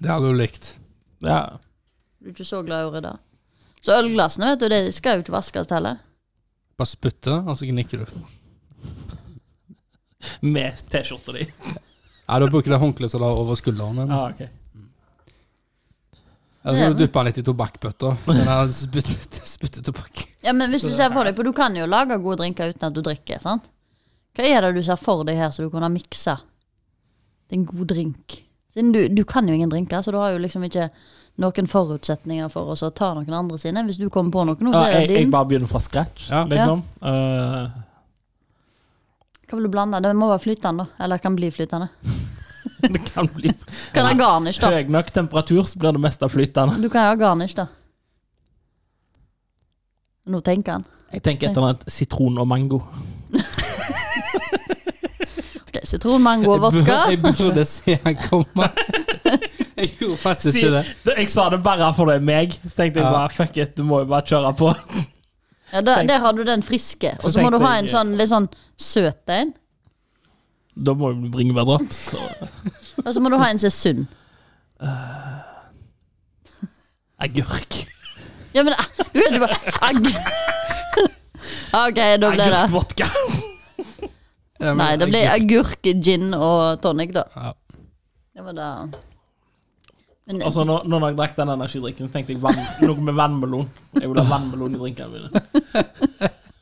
S2: Det hadde du likt.
S3: Ja.
S1: Du er ikke så glad i å rydde. Så ølglassene vet du, det skal jo ikke vaskes heller.
S2: Bare spytte, og så gnikker du.
S3: Med T-skjorta di.
S2: Nei, da bruker du håndkleet som du har over skulderen. din.
S3: Ah, ok.
S2: Eller så dypper han litt i tobakkbøtta. Den der spytte- Spyttetobakk.
S1: Ja, men hvis du ser for deg, for du kan jo lage gode drinker uten at du drikker, sant? Hva er det du ser for deg her som du kunne ha miksa til en god drink? Siden du, du kan jo ingen drinker, så du har jo liksom ikke noen forutsetninger for oss å ta noen andre sine. Hvis du kommer på noe nå, så
S3: Ah,
S1: er
S3: jeg,
S1: det din.
S3: jeg bare begynner fra scratch,
S2: Ja.
S3: liksom. Eh,
S1: Hva vil du blande? Det må være flytende, da. Eller kan bli flytende.
S3: det kan bli
S1: Kan ha garnish, da.
S3: høy nok temperatur, så blir det meste flytende.
S1: Du kan ha garnish, da. Nå tenker han.
S3: Jeg tenker et eller annet sitron og mango.
S1: Ok, Sitron, mango og vodka.
S2: Jeg burde se han komme. Jeg gjorde faktisk ikke det.
S3: jeg sa det bare for det er meg. Så tenkte jeg
S2: Ja.
S3: bare fuck it, du må jo bare kjøre på.
S1: Ja, der,
S3: Tenk-
S1: der har du sånn, den friske.
S3: Så
S1: Og så må du
S3: tenkte
S1: ha en
S3: jeg-
S1: sånn litt sånn søt en.
S3: Da må det bli bringebærdrops. og-
S1: Og så må du ha en som er sunn.
S3: Agurk.
S1: Ja, men eh, du vet jo bare agg. Ok, da blir det
S3: Agurkvodka.
S2: Ja, men
S1: Nei, det blir
S2: jeg-
S1: agurk, gin og tonic, da.
S2: Ja.
S1: Ja, men da men,
S3: Og så når, Altså, når jeg drakk den energidrikken, tenkte jeg vann, noe med vannmelon. Jeg vil ha vannmelon i drinkene mine.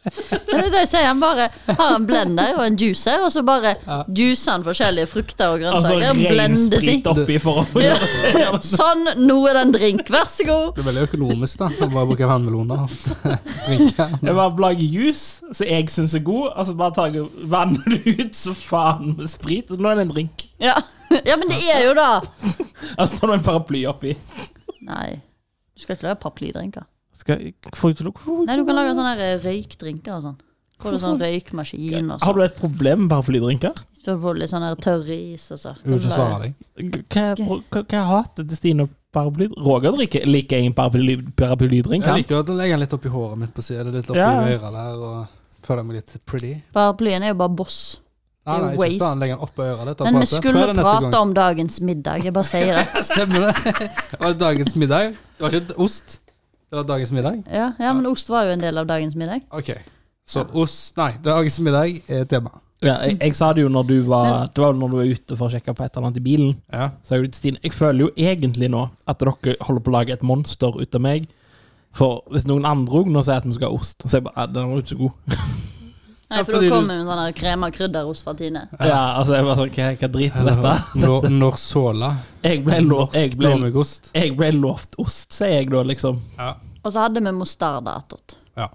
S1: men det er det jeg sier, han bare har en blender og en juicer, og så bare
S2: Ja.
S1: juicer han forskjellige frukter og
S3: Altså
S1: grønnsaker.
S3: ren
S1: blender de.
S3: sprit oppi for å
S1: Ja. Sånn, nå er det en drink, vær så god.
S2: Det er veldig økonomisk, da. Å bare bruke vannmeloner. Drinker.
S3: Jeg bare lager juice som jeg syns er god, og så bare tar jeg og vanner det ut så faen med sprit. Og så nå er det en drink. Altså,
S1: Ja. ja, men det er jo da
S3: Og så tar du en paraply oppi.
S1: Nei, du skal ikke lage paraplydrinker.
S3: Skal, får jeg ikke lov
S1: Nei, du kan lage sånne her, eh, røykdrinker og sånn. Hvor det er sånn røykmaskin og
S3: Har
S1: sånn.
S3: du et problem med paraplydrinker?
S1: Så får du litt sånn her tørr is og så.
S2: Jeg vil ikke svare deg.
S3: Hva jeg hater til Stine og paraply? Roger drikker liker jeg en paraply, paraplydrink.
S2: Jeg
S3: han.
S2: liker å legge den litt oppi håret mitt på siden, litt oppi
S3: Ja.
S2: øret der, og føle meg litt pretty.
S1: Paraplyen er jo bare boss.
S2: Nei, nei, ikke
S1: Waste.
S2: stand, legge den oppå øret ditt. og
S1: Men vi
S2: prate. Prøv
S1: skulle
S2: det neste gang.
S1: prate om dagens middag, jeg bare sier det.
S2: Stemmer det. Det var dagens middag. Det var ikke ost. Det var dagens middag.
S1: Ja, ja, men ost var jo en del av dagens middag.
S2: Ok. Så ost Nei, dagens middag er tema.
S3: Ja, jeg, jeg sa det jo når du var Det var jo når du var ute for å sjekke på et eller annet i bilen.
S2: Ja.
S3: Så jeg, Stine, jeg føler jo egentlig nå at dere holder på å lage et monster ut av meg. For hvis noen andre òg nå sier at vi skal ha ost, så er jeg bare "Ja, Den var jo ikke så god.
S1: Nei,
S2: Ja,
S1: for
S2: fordi
S1: da
S2: du-
S1: kommer jo sånn her krem og krydderost fra Tine.
S3: Ja, altså jeg var sånn, Hva, hva drit i dette?
S2: Når, når såla.
S3: Jeg ble, lov, jeg,
S2: Norsk
S3: ble,
S2: blåmuggost.
S3: jeg ble lovt ost, sier jeg da, liksom.
S2: Ja.
S1: Og så hadde vi mostarda attåt.
S2: ja.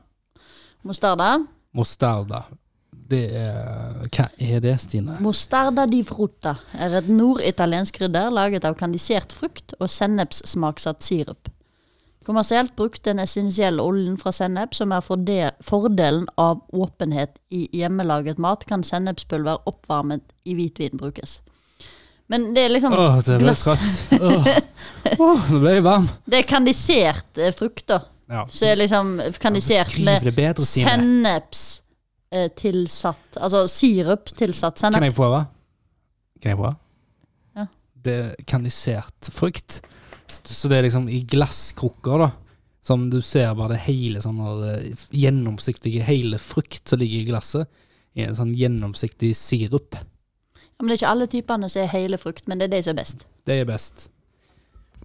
S1: Mostarda?
S2: Mostarda. Det er Hva er det, Stine?
S1: Mostarda di frutta er et norditaliensk krydder laget av kandisert frukt og sennepssmaksatt sirup. Kommersielt brukt den essensielle oljen fra sennep, som er forde fordelen av åpenhet i hjemmelaget mat, kan sennepspulver oppvarmet i hvitvin brukes. Men det er liksom
S2: Åh, det ble
S1: glass.
S2: trøtt. Åh, Åh, nå ble jeg varm.
S1: Det er kandisert eh, frukter.
S2: Ja.
S1: Så er liksom kandisert
S2: Beskriv
S1: med
S2: det bedre, Stine.
S1: senneps eh, tilsatt Altså sirup tilsatt sennep.
S2: Kan jeg prøve? Kan jeg prøve?
S1: Ja.
S2: Det er kandisert frukt. S- Så det er liksom i glasskrukker, da. Som du ser bare det hele sånn eh, f- gjennomsiktige, hele frukt som ligger i glasset. I en sånn gjennomsiktig sirup.
S1: Ja, Men det er ikke alle typene som er hele frukt, men det er de som er best.
S2: Det er best.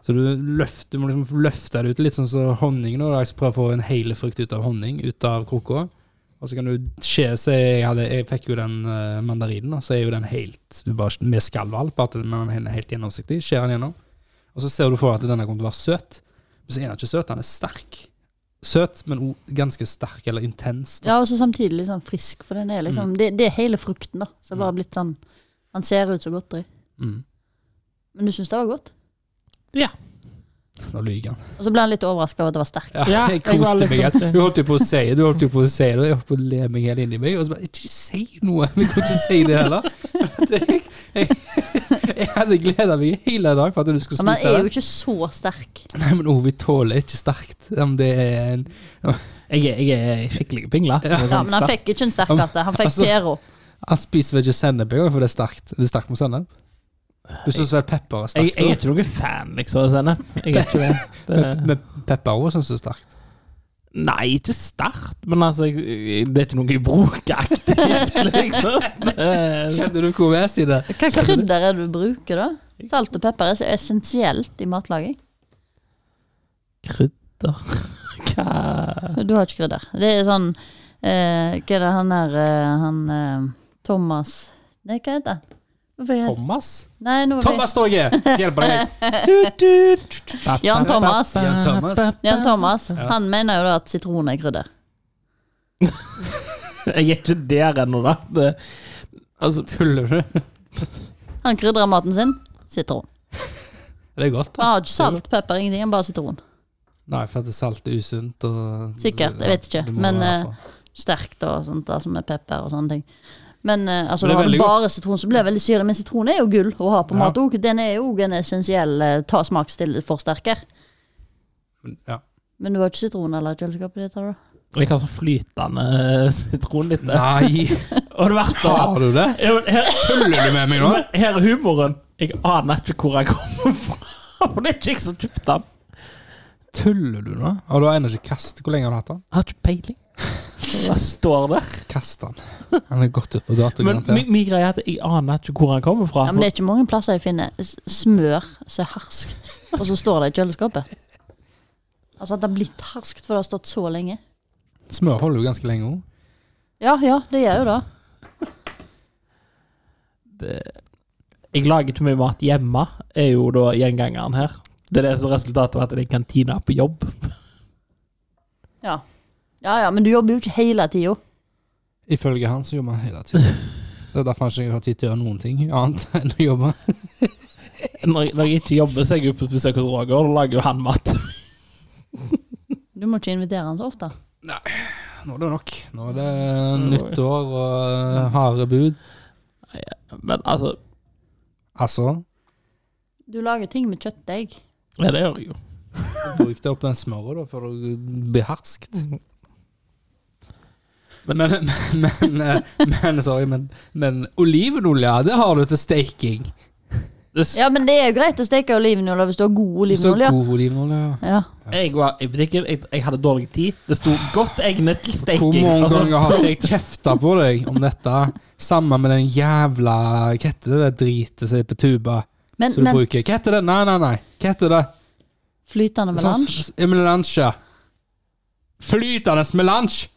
S2: Så du, løft, du må liksom løfte det ut, litt sånn som honning. nå, da. Jeg skal prøve å få en hele frukt ut av honning, ut av krukka. Og så kan du skje se, jeg, hadde, jeg fikk jo den eh, mandarinen, da, så er jo den helt du bare, med skallvalp, at den- men den er helt gjennomsiktig. Skjærer den gjennom. Og så ser du for deg at denne kommer til å være søt. Men så er den ikke søt, den er sterk. Søt, men også ganske sterk eller intens. da.
S1: Ja, og så samtidig litt sånn frisk, for den er liksom det, det er hele frukten, da. Så bare blitt sånn Han ser ut som godteri.
S2: Mm.
S1: Men du syns det var godt?
S2: Nå lyver han.
S1: Og så ble han litt overraska over at det var sterkt.
S2: Ja,
S3: Ja,
S2: jeg
S3: jeg var
S2: koste meg
S3: liksom-
S2: helt. Du holdt jo på å si det, du holdt jo på å si det. Jeg holdt på å le meg helt inn i meg. Og så bare Ikke si noe! Vi kan ikke si det heller. Jeg, jeg, jeg hadde gleda meg i hele dag for at du skulle
S1: Men han
S2: spise
S1: er jo
S2: det.
S1: ikke så sterk.
S2: Nei, men Ove tåler ikke sterkt. Om det er en
S3: Jeg er, jeg er skikkelig pingla.
S1: Ja, Men han fikk ikke den sterkeste. Han fikk
S2: Altså-
S1: Pero.
S2: Han spiser vel ikke sennep engang, for det er sterkt. Det er sterkt med sennep. Du syns vel pepper er
S3: Jeg,
S2: sterkt?
S3: jeg er
S2: også?
S3: ikke noen fan, liksom, av sennep. Jeg er ikke det. det
S2: Men pepper òg syns det er sterkt.
S3: nei, ikke sterkt, men altså jeg, jeg- Det er ikke noe jeg bruker aktivt, liksom. Det-
S2: Kjenner du hvor vi er, Stine?
S1: Hva krydder er det du bruker, da? Salt og pepper er så essensielt i matlaging.
S3: Krydder Hva
S1: Du har ikke krydder. Det er sånn eh, Hva er det han der eh, Han eh, Thomas Nei, hva heter han? Hvorfor heter-
S2: Thomas?
S1: Nei, nå vet jeg-
S2: Thomas Torge! Skal hjelpe deg.
S1: Jan Thomas.
S2: Jan Thomas.
S1: Jan Thomas
S2: Ja.
S1: han mener jo da at sitron er krydder.
S3: Jeg er ikke der ennå, da. Det, altså,
S2: Tuller du?
S1: Han krydrer maten sin sitron.
S2: Det er godt.
S1: Han har ikke salt, pepper, ingenting. Han bare sitron.
S2: Nei, for at det salt er usunt. Og
S1: Sikkert, jeg vet ikke,
S2: Det må
S1: men,
S2: være
S1: eh,
S2: derfor.
S1: Sterkt og sånt der, som er pepper og sånne ting. Men eh, altså,
S2: Men det er
S1: har du
S2: veldig
S1: bare sitron, så blir det veldig syrlig. Men sitron er jo gull å ha på
S2: Ja.
S1: mat òg. Den er jo også en essensiell eh, ta smaksforsterker.
S2: Men, ja.
S1: Men du har ikke sitron eller kjøleskapet ditt? har du?
S3: Jeg har sånn flytende eh, sitronlytte.
S2: Nei,
S3: Og det verste
S2: har
S3: var
S2: du det?
S3: Ja, men her,
S2: Tuller du med meg nå?
S3: men her er humoren. Jeg aner ikke hvor jeg kommer fra, for det er ikke jeg som kjøpte den.
S2: Tuller du nå? Og du har ennå ikke kastet Hvor lenge har du hatt den?
S3: Jeg har ikke peiling. Det står der.
S2: Kast den. Han er gått ut på dato.
S3: Men
S2: garantert.
S3: min, min greie er at jeg aner ikke hvor han kommer fra.
S1: Ja, men det er ikke mange plasser jeg finner s- smør som er harskt, og så står det i kjøleskapet. Altså at det har blitt harskt, for det har stått så lenge.
S2: Smør holder jo ganske lenge òg.
S1: Ja, ja, det gjør jo det.
S3: Jeg lager ikke mye mat hjemme, er jo da gjengangeren her. Det er det som resultatet av at det er kantina på jobb.
S1: Ja. ja ja, men du jobber jo ikke hele tida.
S2: Ifølge han så jobber han hele tiden. Det er derfor han ikke har tid til å gjøre noen ting annet enn å jobbe.
S3: Når, når jeg ikke jobber, så er jeg jo på besøk hos Roger, og da lager jo han mat.
S1: Du må ikke invitere han så ofte.
S2: Nå er det nok. Nå er det nyttår og eh, harde bud.
S3: Men altså,
S2: Altså,
S1: Du lager ting med kjøttdeig.
S3: ja, det gjør jeg jo.
S2: bruk deg opp den smøret da, før du blir harskt. Men, men, men, men, men sorry, men, men olivenolje, det har du til steiking.
S3: Det s-
S1: Ja, men det er jo greit å steke olivenolje hvis du har god
S2: Så
S1: olivenolje.
S2: god olivenolje. ja.
S1: Ja.
S3: Jeg var i butikken, jeg, jeg hadde dårlig tid. Det sto 'godt egnet til Altså,
S2: Hvor
S3: steking'.
S2: mange
S3: og så-
S2: ganger har ikke jeg kjefta på deg om dette? Sammen med den jævla Hva heter det der dritet som er på tuba,
S1: Men,
S2: som du
S1: men
S2: bruker? Hva heter det? Nei, nei, nei. Hva heter det?
S1: flytende melange?
S2: Sånn f- Melange. Flytende melange!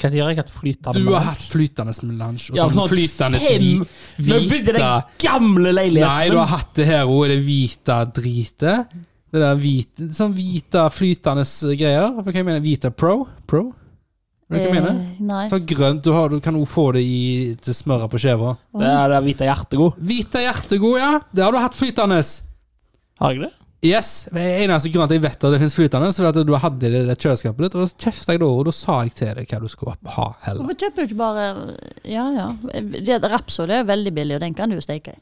S3: Hva gjør jeg at flytende
S2: Du har
S3: melange?
S2: hatt flytende melange og
S3: Ja,
S2: sånn
S3: sånn
S2: flytende
S3: fem-
S2: hvi-
S3: Nå begynte
S2: hvite
S3: den gamle leiligheten.
S2: Nei, du har hatt det her òg, det hvite dritet. Det der hvite, sånn hvite flytende greier. Hva jeg mener Hvite pro? Pro? Hva jeg mener
S1: Eh, nei.
S2: Sånn grønt du har, du kan òg få det i, til smøret på skiva.
S3: Det er det hvite hjertet god.
S2: Hvite hjertegod, ja. Det har du hatt flytende.
S3: Har jeg det?
S2: Yes. Det er eneste grunn til at jeg vet at det finnes flytende, så er at du hadde det i det kjøleskapet ditt, og så kjefta jeg da, og da sa jeg til deg hva du skulle ha heller.
S1: Hvorfor kjøper du ikke bare Ja, ja. Det, rapsolje er veldig billig, og den kan du jo steke i.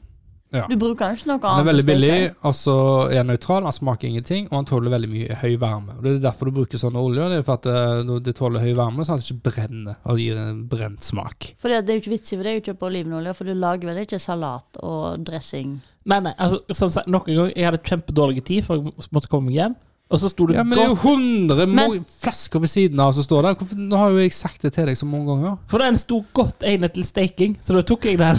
S2: Ja.
S1: Du bruker jo ikke noe
S2: Den
S1: annet.
S2: er veldig
S1: å steke i.
S2: billig, og så er den nøytral, den smaker ingenting, og den tåler veldig mye høy varme. Og Det er derfor du bruker sånne oljer, det er for at eh, det tåler høy varme, så den ikke brenner og gir det en brent smak.
S1: For det er jo ikke vits i for deg å kjøpe olivenolje, for du lager vel ikke salat og dressing.
S3: Nei, nei, altså, som sagt, noen ganger jeg hadde kjempedårlig tid, for jeg måtte komme meg hjem. Og så sto det
S2: Ja, men det er jo
S3: godt,
S2: 100 mo-
S1: Men-
S2: flasker ved siden av som står der. Hvorfor, nå har jo jeg sagt det til deg så mange ganger.
S3: for den sto godt egnet til steking, så da tok jeg den.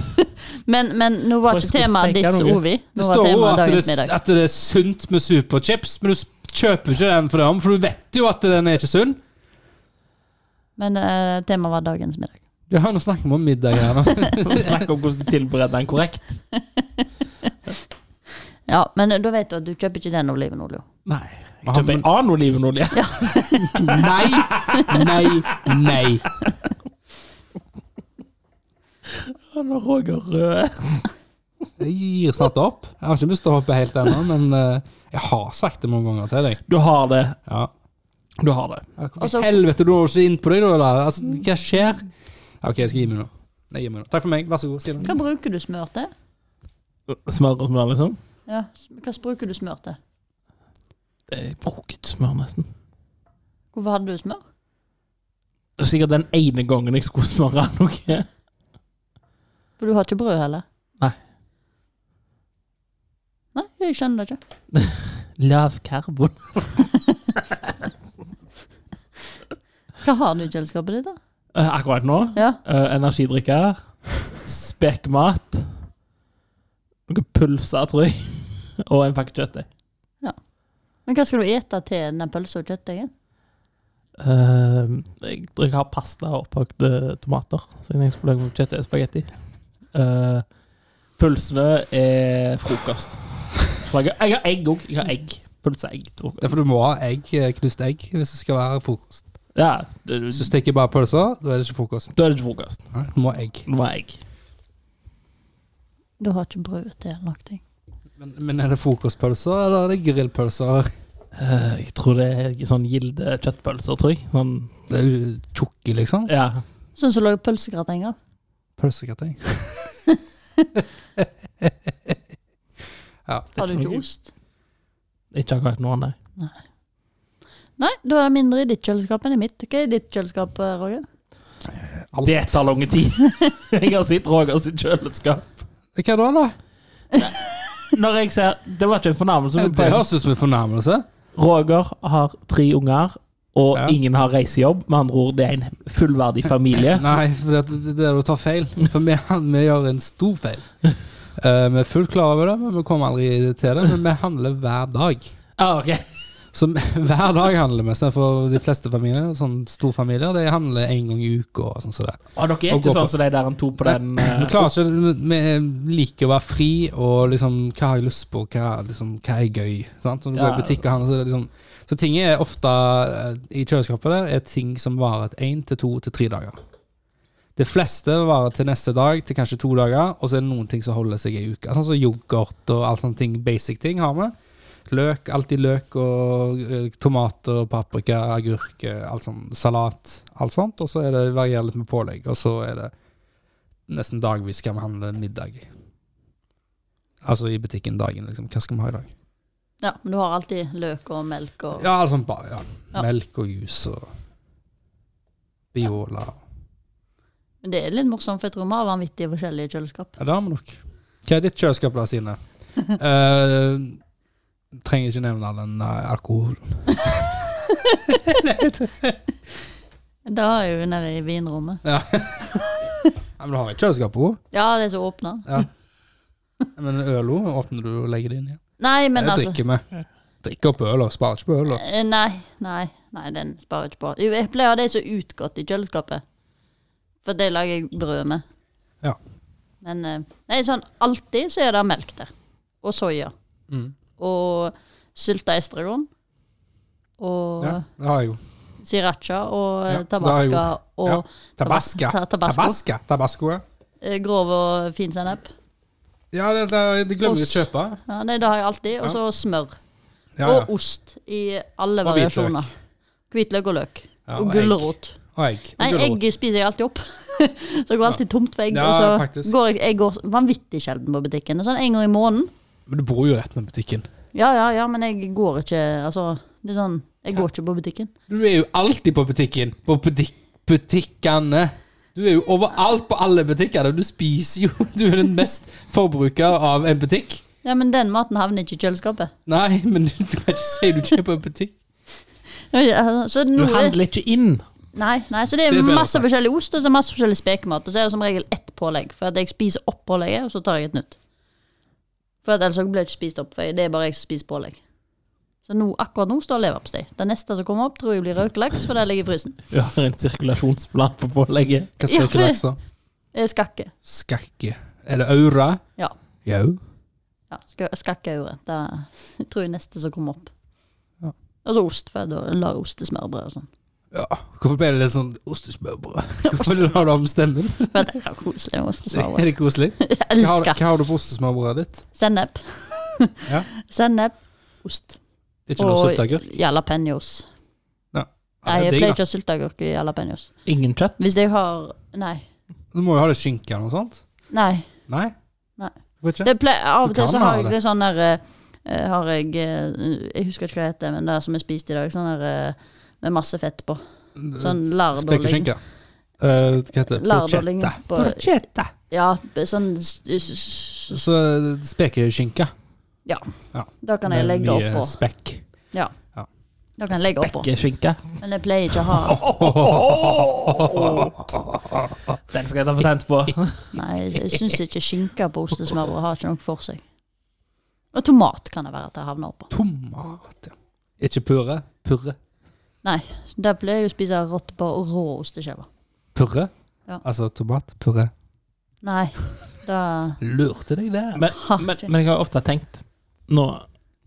S1: Men, men nå var
S3: For
S1: ikke
S3: jeg skulle
S1: temaet
S3: steke
S1: diss
S3: noe.
S1: Ovi.
S2: Det
S1: Nå var
S2: står jo
S1: temaet
S2: at
S1: dagens
S2: det,
S1: middag.
S2: at det er sunt med superchips, men du s- kjøper ikke den for det om, for du vet jo at den er ikke sunn.
S1: Men eh, temaet var dagens middag.
S2: Ja, nå snakker vi om middag her nå.
S3: Så Snakk om hvordan du tilbereder den korrekt.
S1: Ja, men eh, da vet du at du kjøper ikke den olivenolja.
S3: Nei. Jeg
S2: Ja,
S3: kjøper
S2: men-
S3: en annen olivenolje.
S2: Nei, nei, nei.
S3: Ja, nå Roger eh,
S2: Jeg gir snart opp. Jeg har ikke lyst til å hoppe helt ennå, men eh, jeg har sagt det mange ganger til deg.
S3: Du har det.
S2: Ja.
S3: Du har det.
S2: Ja,
S1: Og så-
S2: Hvorfor i helvete, du har ikke inn på deg, da? eller? Altså, hva skjer? Ja, OK, jeg skal gi meg nå. Jeg gir meg nå. Takk for meg, vær så god. Stine.
S1: Hva bruker du smør til?
S3: Smør og smør, liksom.
S1: Ja, s- hva bruker du smør til?
S3: Jeg bruker ikke Eh, smør, nesten.
S1: Hvorfor hadde du smør?
S3: Det er sikkert den ene gangen jeg skulle smøre noe.
S1: For du har ikke brød heller?
S3: Nei.
S1: Nei, jeg skjønner det ikke.
S3: Lav karbon.
S1: Hva har du i kjøleskapet ditt, da?
S3: Eh, Akkurat nå.
S1: Ja,
S3: Eh, energidrikker. Spekmat. Noen pølser, tror jeg. Og en pakke kjøttdeig.
S1: Men hva skal du ete til den pølsa og kjøttdeigen?
S3: Eh, jeg tror jeg har pasta og oppakte tomater, siden jeg skulle lage kjøttdeig og spagetti. Eh, pølsene er frokost. For Jeg har jeg har egg òg. Jeg har egg. Pølse og egg til
S2: Det er
S3: frokost.
S2: for du må ha egg, eh, knust egg, hvis det skal være frokost.
S3: Ja, det,
S2: Hvis du steker bare pølser, da er det ikke frokost.
S3: da er det ikke frokost.
S2: Nei, Du må ha egg.
S3: Det var egg.
S1: Du har ikke brød til noe.
S2: Men, men er det frokostpølser, eller er det grillpølser?
S3: Eh, jeg tror det er sånn Gilde kjøttpølser, tror jeg. Sånn,
S2: Det er jo tjukke, liksom.
S3: ja.
S1: Sånn som du lager pølsegrateng av.
S2: Pølsekartong.
S1: Har du
S3: tror
S1: ikke
S3: jeg.
S1: ost?
S3: Ikke akkurat nå, nei.
S1: Nei, da er det mindre i ditt kjøleskap enn i mitt. Hva er i ditt kjøleskap, eh, Roger?
S2: Alt.
S3: Det tar lang tid. Jeg har sett Roger sitt kjøleskap.
S2: Hva da, da?
S3: Når jeg ser Det var ikke en fornærmelse. men
S2: Det høres ut som en fornærmelse.
S3: Roger har tre unger, og
S2: Ja.
S3: ingen har reisejobb. Med andre ord, det er en fullverdig familie.
S2: Nei, for det, det, det er å ta feil. For vi, vi gjør en stor feil. Eh, vi er fullt klar over det, men vi kommer aldri til det. Men vi handler hver dag.
S3: Ah, ok.
S2: Så hver dag handler vi. så For de fleste familier, sånn storfamilier, de handler en gang i uka. og Sånn som det.
S3: Ah, dere er
S2: Og gå
S3: ikke
S2: på.
S3: sånn som de der en to på den
S2: Vi
S3: eh,
S2: klarer ikke Vi liker å være fri, og liksom hva har jeg lyst på, hva, liksom, hva er gøy? Sant? Når Sånn, du går
S3: Ja.
S2: i butikk og handler, så er det liksom Så ting er ofte eh, i kjøleskapet der, er ting som varer til én til to til tre dager. De fleste varer til neste dag, til kanskje to dager, og så er det noen ting som holder seg i uka. Sånn som yoghurt og alt sånne ting, basic ting har vi. Løk, alltid løk og eh, tomater, paprika, agurk, eh, alt sånn, salat, alt sånt. Og så er det varierer litt med pålegg, og så er det nesten dagvis skal vi handle middag. Altså i butikken dagen, liksom. Hva skal vi ha i dag?
S1: Ja, men du har alltid løk og melk og
S2: Ja, altså, ba- ja.
S1: Ja.
S2: melk og juice og Biola.
S1: Men det er litt morsomt, for jeg tror vi har vanvittige forskjellige kjøleskap.
S2: Ja, det har vi nok. Hva er ditt kjøleskap, da, Sine? Eh, trenger ikke nevne all den eh, alkoholen.
S1: Da er jeg jo nede i vinrommet.
S2: Ja. ja, men du har et kjøleskap òg.
S1: Ja, det er så åpna.
S2: Ja. Men øla åpner du og legger det inn igjen.
S1: Nei, men
S2: det
S1: altså
S2: drikker vi. Drikker opp øl og sparer ikke på øl. og-
S1: Eh, Nei, nei, nei, den sparer jeg ikke på. Jo, jeg pleier å ha det som er utgått i kjøleskapet. For det lager jeg brød med.
S2: Ja.
S1: Men eh, nei, sånn alltid så er det melk der. Og soya.
S2: Mm.
S1: Og sylta estragon. Og
S2: Ja, det har jeg jo.
S1: sriracha og eh,
S2: Ja, det har jeg
S1: tabasca
S2: gjort.
S1: og
S2: Ja. Tabasca.
S1: Ta- tabasco.
S2: Tabasca. Tabasco, ja.
S1: eh, grov og fin sennep.
S2: Ja, det, det, det glemmer vi å
S1: Ost.
S2: kjøpe.
S1: Ja, nei, det har jeg alltid. Og så smør.
S2: Ja, ja.
S1: Og ost i alle
S2: Og hvitløk.
S1: variasjoner. Hvitløk og løk.
S2: Ja,
S1: og
S2: og egg.
S1: gulrot.
S2: Og egg. Og
S1: Nei,
S2: gulrot.
S1: egg spiser jeg alltid opp. så jeg går alltid tomt for egg.
S2: Ja,
S1: og så
S2: faktisk.
S1: går jeg, jeg går vanvittig sjelden på butikken. Sånn en gang i måneden.
S2: Men du bor jo rett med butikken.
S1: Ja, ja, ja, men jeg går ikke Altså, det er sånn Jeg går ikke på butikken.
S2: Du er jo alltid på butikken. På butik butikkene. Du er jo overalt på alle butikker. Du spiser jo Du er den mest forbruker av en butikk.
S1: Ja, men den maten havner ikke i kjøleskapet.
S2: Nei, men du, du kan ikke si du ikke er på en butikk.
S1: Ja, altså, Så
S3: Du
S1: nå er,
S3: handler ikke inn.
S1: nei, nei, så det er
S2: Det er bedre
S1: masse
S2: sagt.
S1: forskjellig ost og så masse forskjellig spekemat. Og så er det som regel ett pålegg, for at jeg spiser opp pålegget, og så tar jeg et nytt. For at ellers så blir det ikke spist opp, for det er bare jeg som spiser pålegg. Så nå, akkurat nå står leverpostei. Det neste som kommer opp, tror jeg blir røkelaks, for det ligger i frysen.
S3: Du har en sirkulasjonsplan på pålegget.
S2: Hva skal ikke
S1: Ja.
S2: laks, da?
S1: Eh, Skakke.
S2: Skakke. Eller aura?
S1: Ja.
S2: Jau.
S1: Ja, ska- skakkeure. Det tror jeg neste som kommer opp.
S2: Ja.
S1: Og så ost, for da lager jeg ost til smørbrød og sånn.
S2: Ja. Hvorfor ble det litt sånn ostesmørbrød? Hvorfor la du om stemmen?
S1: For det er koselig med ost til smørbrød.
S2: Er det koselig?
S1: Jeg
S2: Hva har,
S1: elsker
S2: hva har du på ostesmørbrødet ditt?
S1: sennep.
S2: Ja.
S1: Sennep, ost
S2: Ikke noe
S1: og
S2: sylteagurk?
S1: jalapeños. Nei,
S2: Ja, det
S1: jeg pleier
S2: er digg,
S1: ikke å ha sylteagurk i jalapeños.
S3: Ingen kjøtt.
S1: Hvis jeg har Nei.
S2: da. Du må jo ha litt skinke eller noe sånt?
S1: Nei.
S2: Nei?
S1: Nei.
S2: Hvorfor ikke?
S1: Det pleier, av og
S2: Du
S1: til
S2: kan
S1: så
S2: ha
S1: har jeg
S2: det.
S1: litt sånn der eh, Har jeg eh, Jeg husker ikke hva det heter, men det som jeg spiste i dag, sånn der eh, med masse fett på. Sånn
S2: Mm.
S1: lardolling.
S2: Spekeskinke. Eh, hva heter det?
S1: Lardolling
S2: Porchetta.
S1: på-
S2: Porchetta.
S1: Ja, sånn s- s- s-
S2: Så eh, spekeskinke.
S1: Da kan jeg
S2: med
S1: legge
S2: mye
S1: oppå.
S2: Spekk.
S1: Ja.
S2: Ja.
S1: Da kan jeg legge oppå.
S3: Spekkeskinke.
S1: Men jeg pleier ikke å ha
S3: Den skal jeg ta patent på.
S1: Nei, jeg syns ikke skinke på ostesmørbrød har ikke noe for seg. Og tomat kan det være at jeg havner oppå.
S2: Tomat, ja. Ikke purre. Purre.
S1: Nei, der pleier jeg å spise rått på rå osteskiver.
S2: Purre?
S1: Ja.
S2: Altså tomat. Purre.
S1: Nei, da
S2: Lurte deg der.
S3: Men, men, men jeg har ofte tenkt Nå,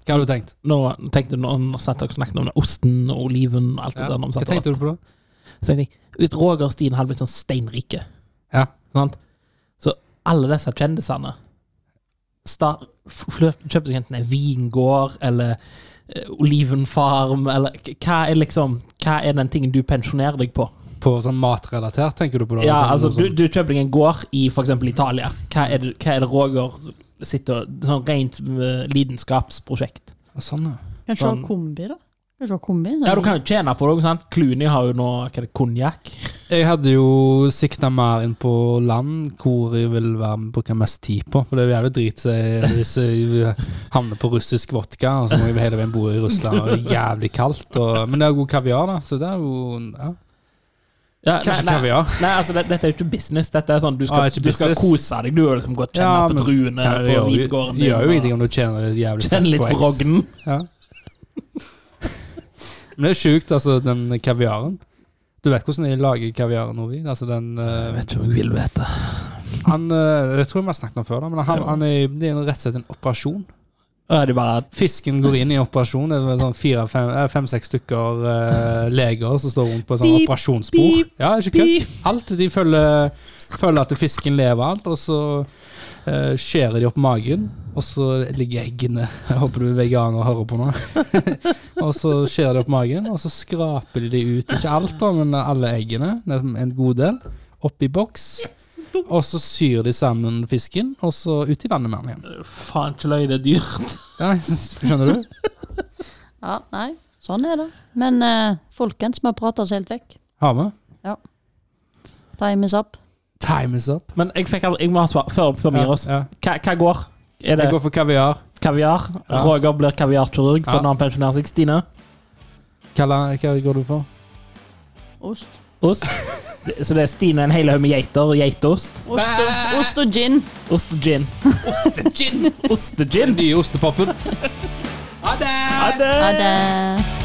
S2: Hva har du tenkt?
S3: nå tenkte jeg nå, nå satt dere og snakket om den osten og oliven og alt det
S2: Ja.
S3: der. Når vi
S2: Hva
S3: satt og-
S2: tenkte du på da?
S3: Så tenkte jeg, Hvis Roger og Stine hadde blitt sånn steinrike
S2: Ja.
S3: sant? Så alle disse kjendisene sta- f- flø- Kjøpte seg enten en vingård eller eh, olivenfarm eller k- Hva er liksom Hva er den tingen du pensjonerer deg på?
S2: På sånn matrelatert, tenker du på da?
S3: Ja,
S2: Sånn-
S3: altså Du,
S2: sånn-
S3: du kjøper deg en gård i f.eks. Italia. Hva er, det, hva er det Roger sitter og Sånn rent eh, lidenskapsprosjekt.
S2: Sånn, ja.
S1: Kanskje ha kombi, da? Det er ikke kombi. det er
S3: Ja, du kan jo tjene på det. ikke sant? Clooney har jo nå hva er det, konjakk.
S2: Jeg hadde jo sikta mer inn på land, hvor jeg vil være med, bruke mest tid på. For det er jo jævlig drit seg hvis jeg havner på russisk vodka, og så må jeg hele veien bo i Russland, og det er jævlig kaldt. Og, men det er jo god kaviar, da. Så det er jo ja.
S3: Ja,
S2: Kanskje kaviar.
S3: Nei, altså, det, dette er jo ikke business. Dette er sånn, Du
S2: Ah,
S3: skal,
S2: det er ikke
S3: du skal
S2: business.
S3: kose deg. Du er liksom godt kjenne
S2: Ja,
S3: på
S2: men
S3: druene
S2: Kan-
S3: og
S2: det gjør
S3: vingården
S2: jo- gjør jo
S3: din,
S2: ingenting om du tjener et jævlig
S3: og Kjenne litt på
S2: eggs.
S3: rognen.
S2: Ja. Men det er sjukt, altså, den kaviaren. Du vet hvordan de lager kaviaren, Ovi? Altså den eh,
S3: ikke om jeg vil vite.
S2: Han eh, Jeg tror vi har snakket om det før, da, men han,
S3: Ja.
S2: han er, i- det er rett og slett en operasjon.
S3: Er det bare
S2: Fisken går inn i operasjon. Det er vel sånn fire, fem, eh, fem-seks stykker eh, leger som står rundt på et sånt
S3: Pip,
S2: operasjonsbord.
S3: pip,
S2: ja, det er ikke kødd. Alt de følger, følger at fisken lever alt, og så eh, skjærer de opp magen, og så ligger eggene Jeg håper du er veganer og hører på nå. og så skjærer de opp magen, og så skraper de de ut. Ikke alt, da, men alle eggene. det er En god del. Oppi boks. Og så syr de sammen fisken, og så ut i vannet med den igjen.
S3: Faen ikke løy, det er dyrt.
S2: Ja, skjønner du?
S1: Ja, nei, sånn er det. Men eh, folkens, vi har pratet oss helt vekk.
S2: Har vi?
S1: Time is up.
S2: Time is up.
S3: Men jeg fikk aldri, jeg må ha svar før, før vi gir oss.
S2: Ja.
S3: Hva, hva går? Er det
S2: Jeg går for kaviar.
S3: kaviar?
S2: Ja.
S3: Roger blir kaviarkirurg for
S2: Ja.
S3: når han pensjonerer seg. Stine?
S2: Hva, la- hva går du for?
S1: Ost.
S3: Ost? Det- Så det er Stine en hel haug med geiter og geitost.
S1: Ost og, ost og gin.
S3: Ost og gin.
S2: Ostegin!
S3: Ostegin!
S2: Nye ostepopen. Ha det!
S3: Ha det!
S1: Ha det.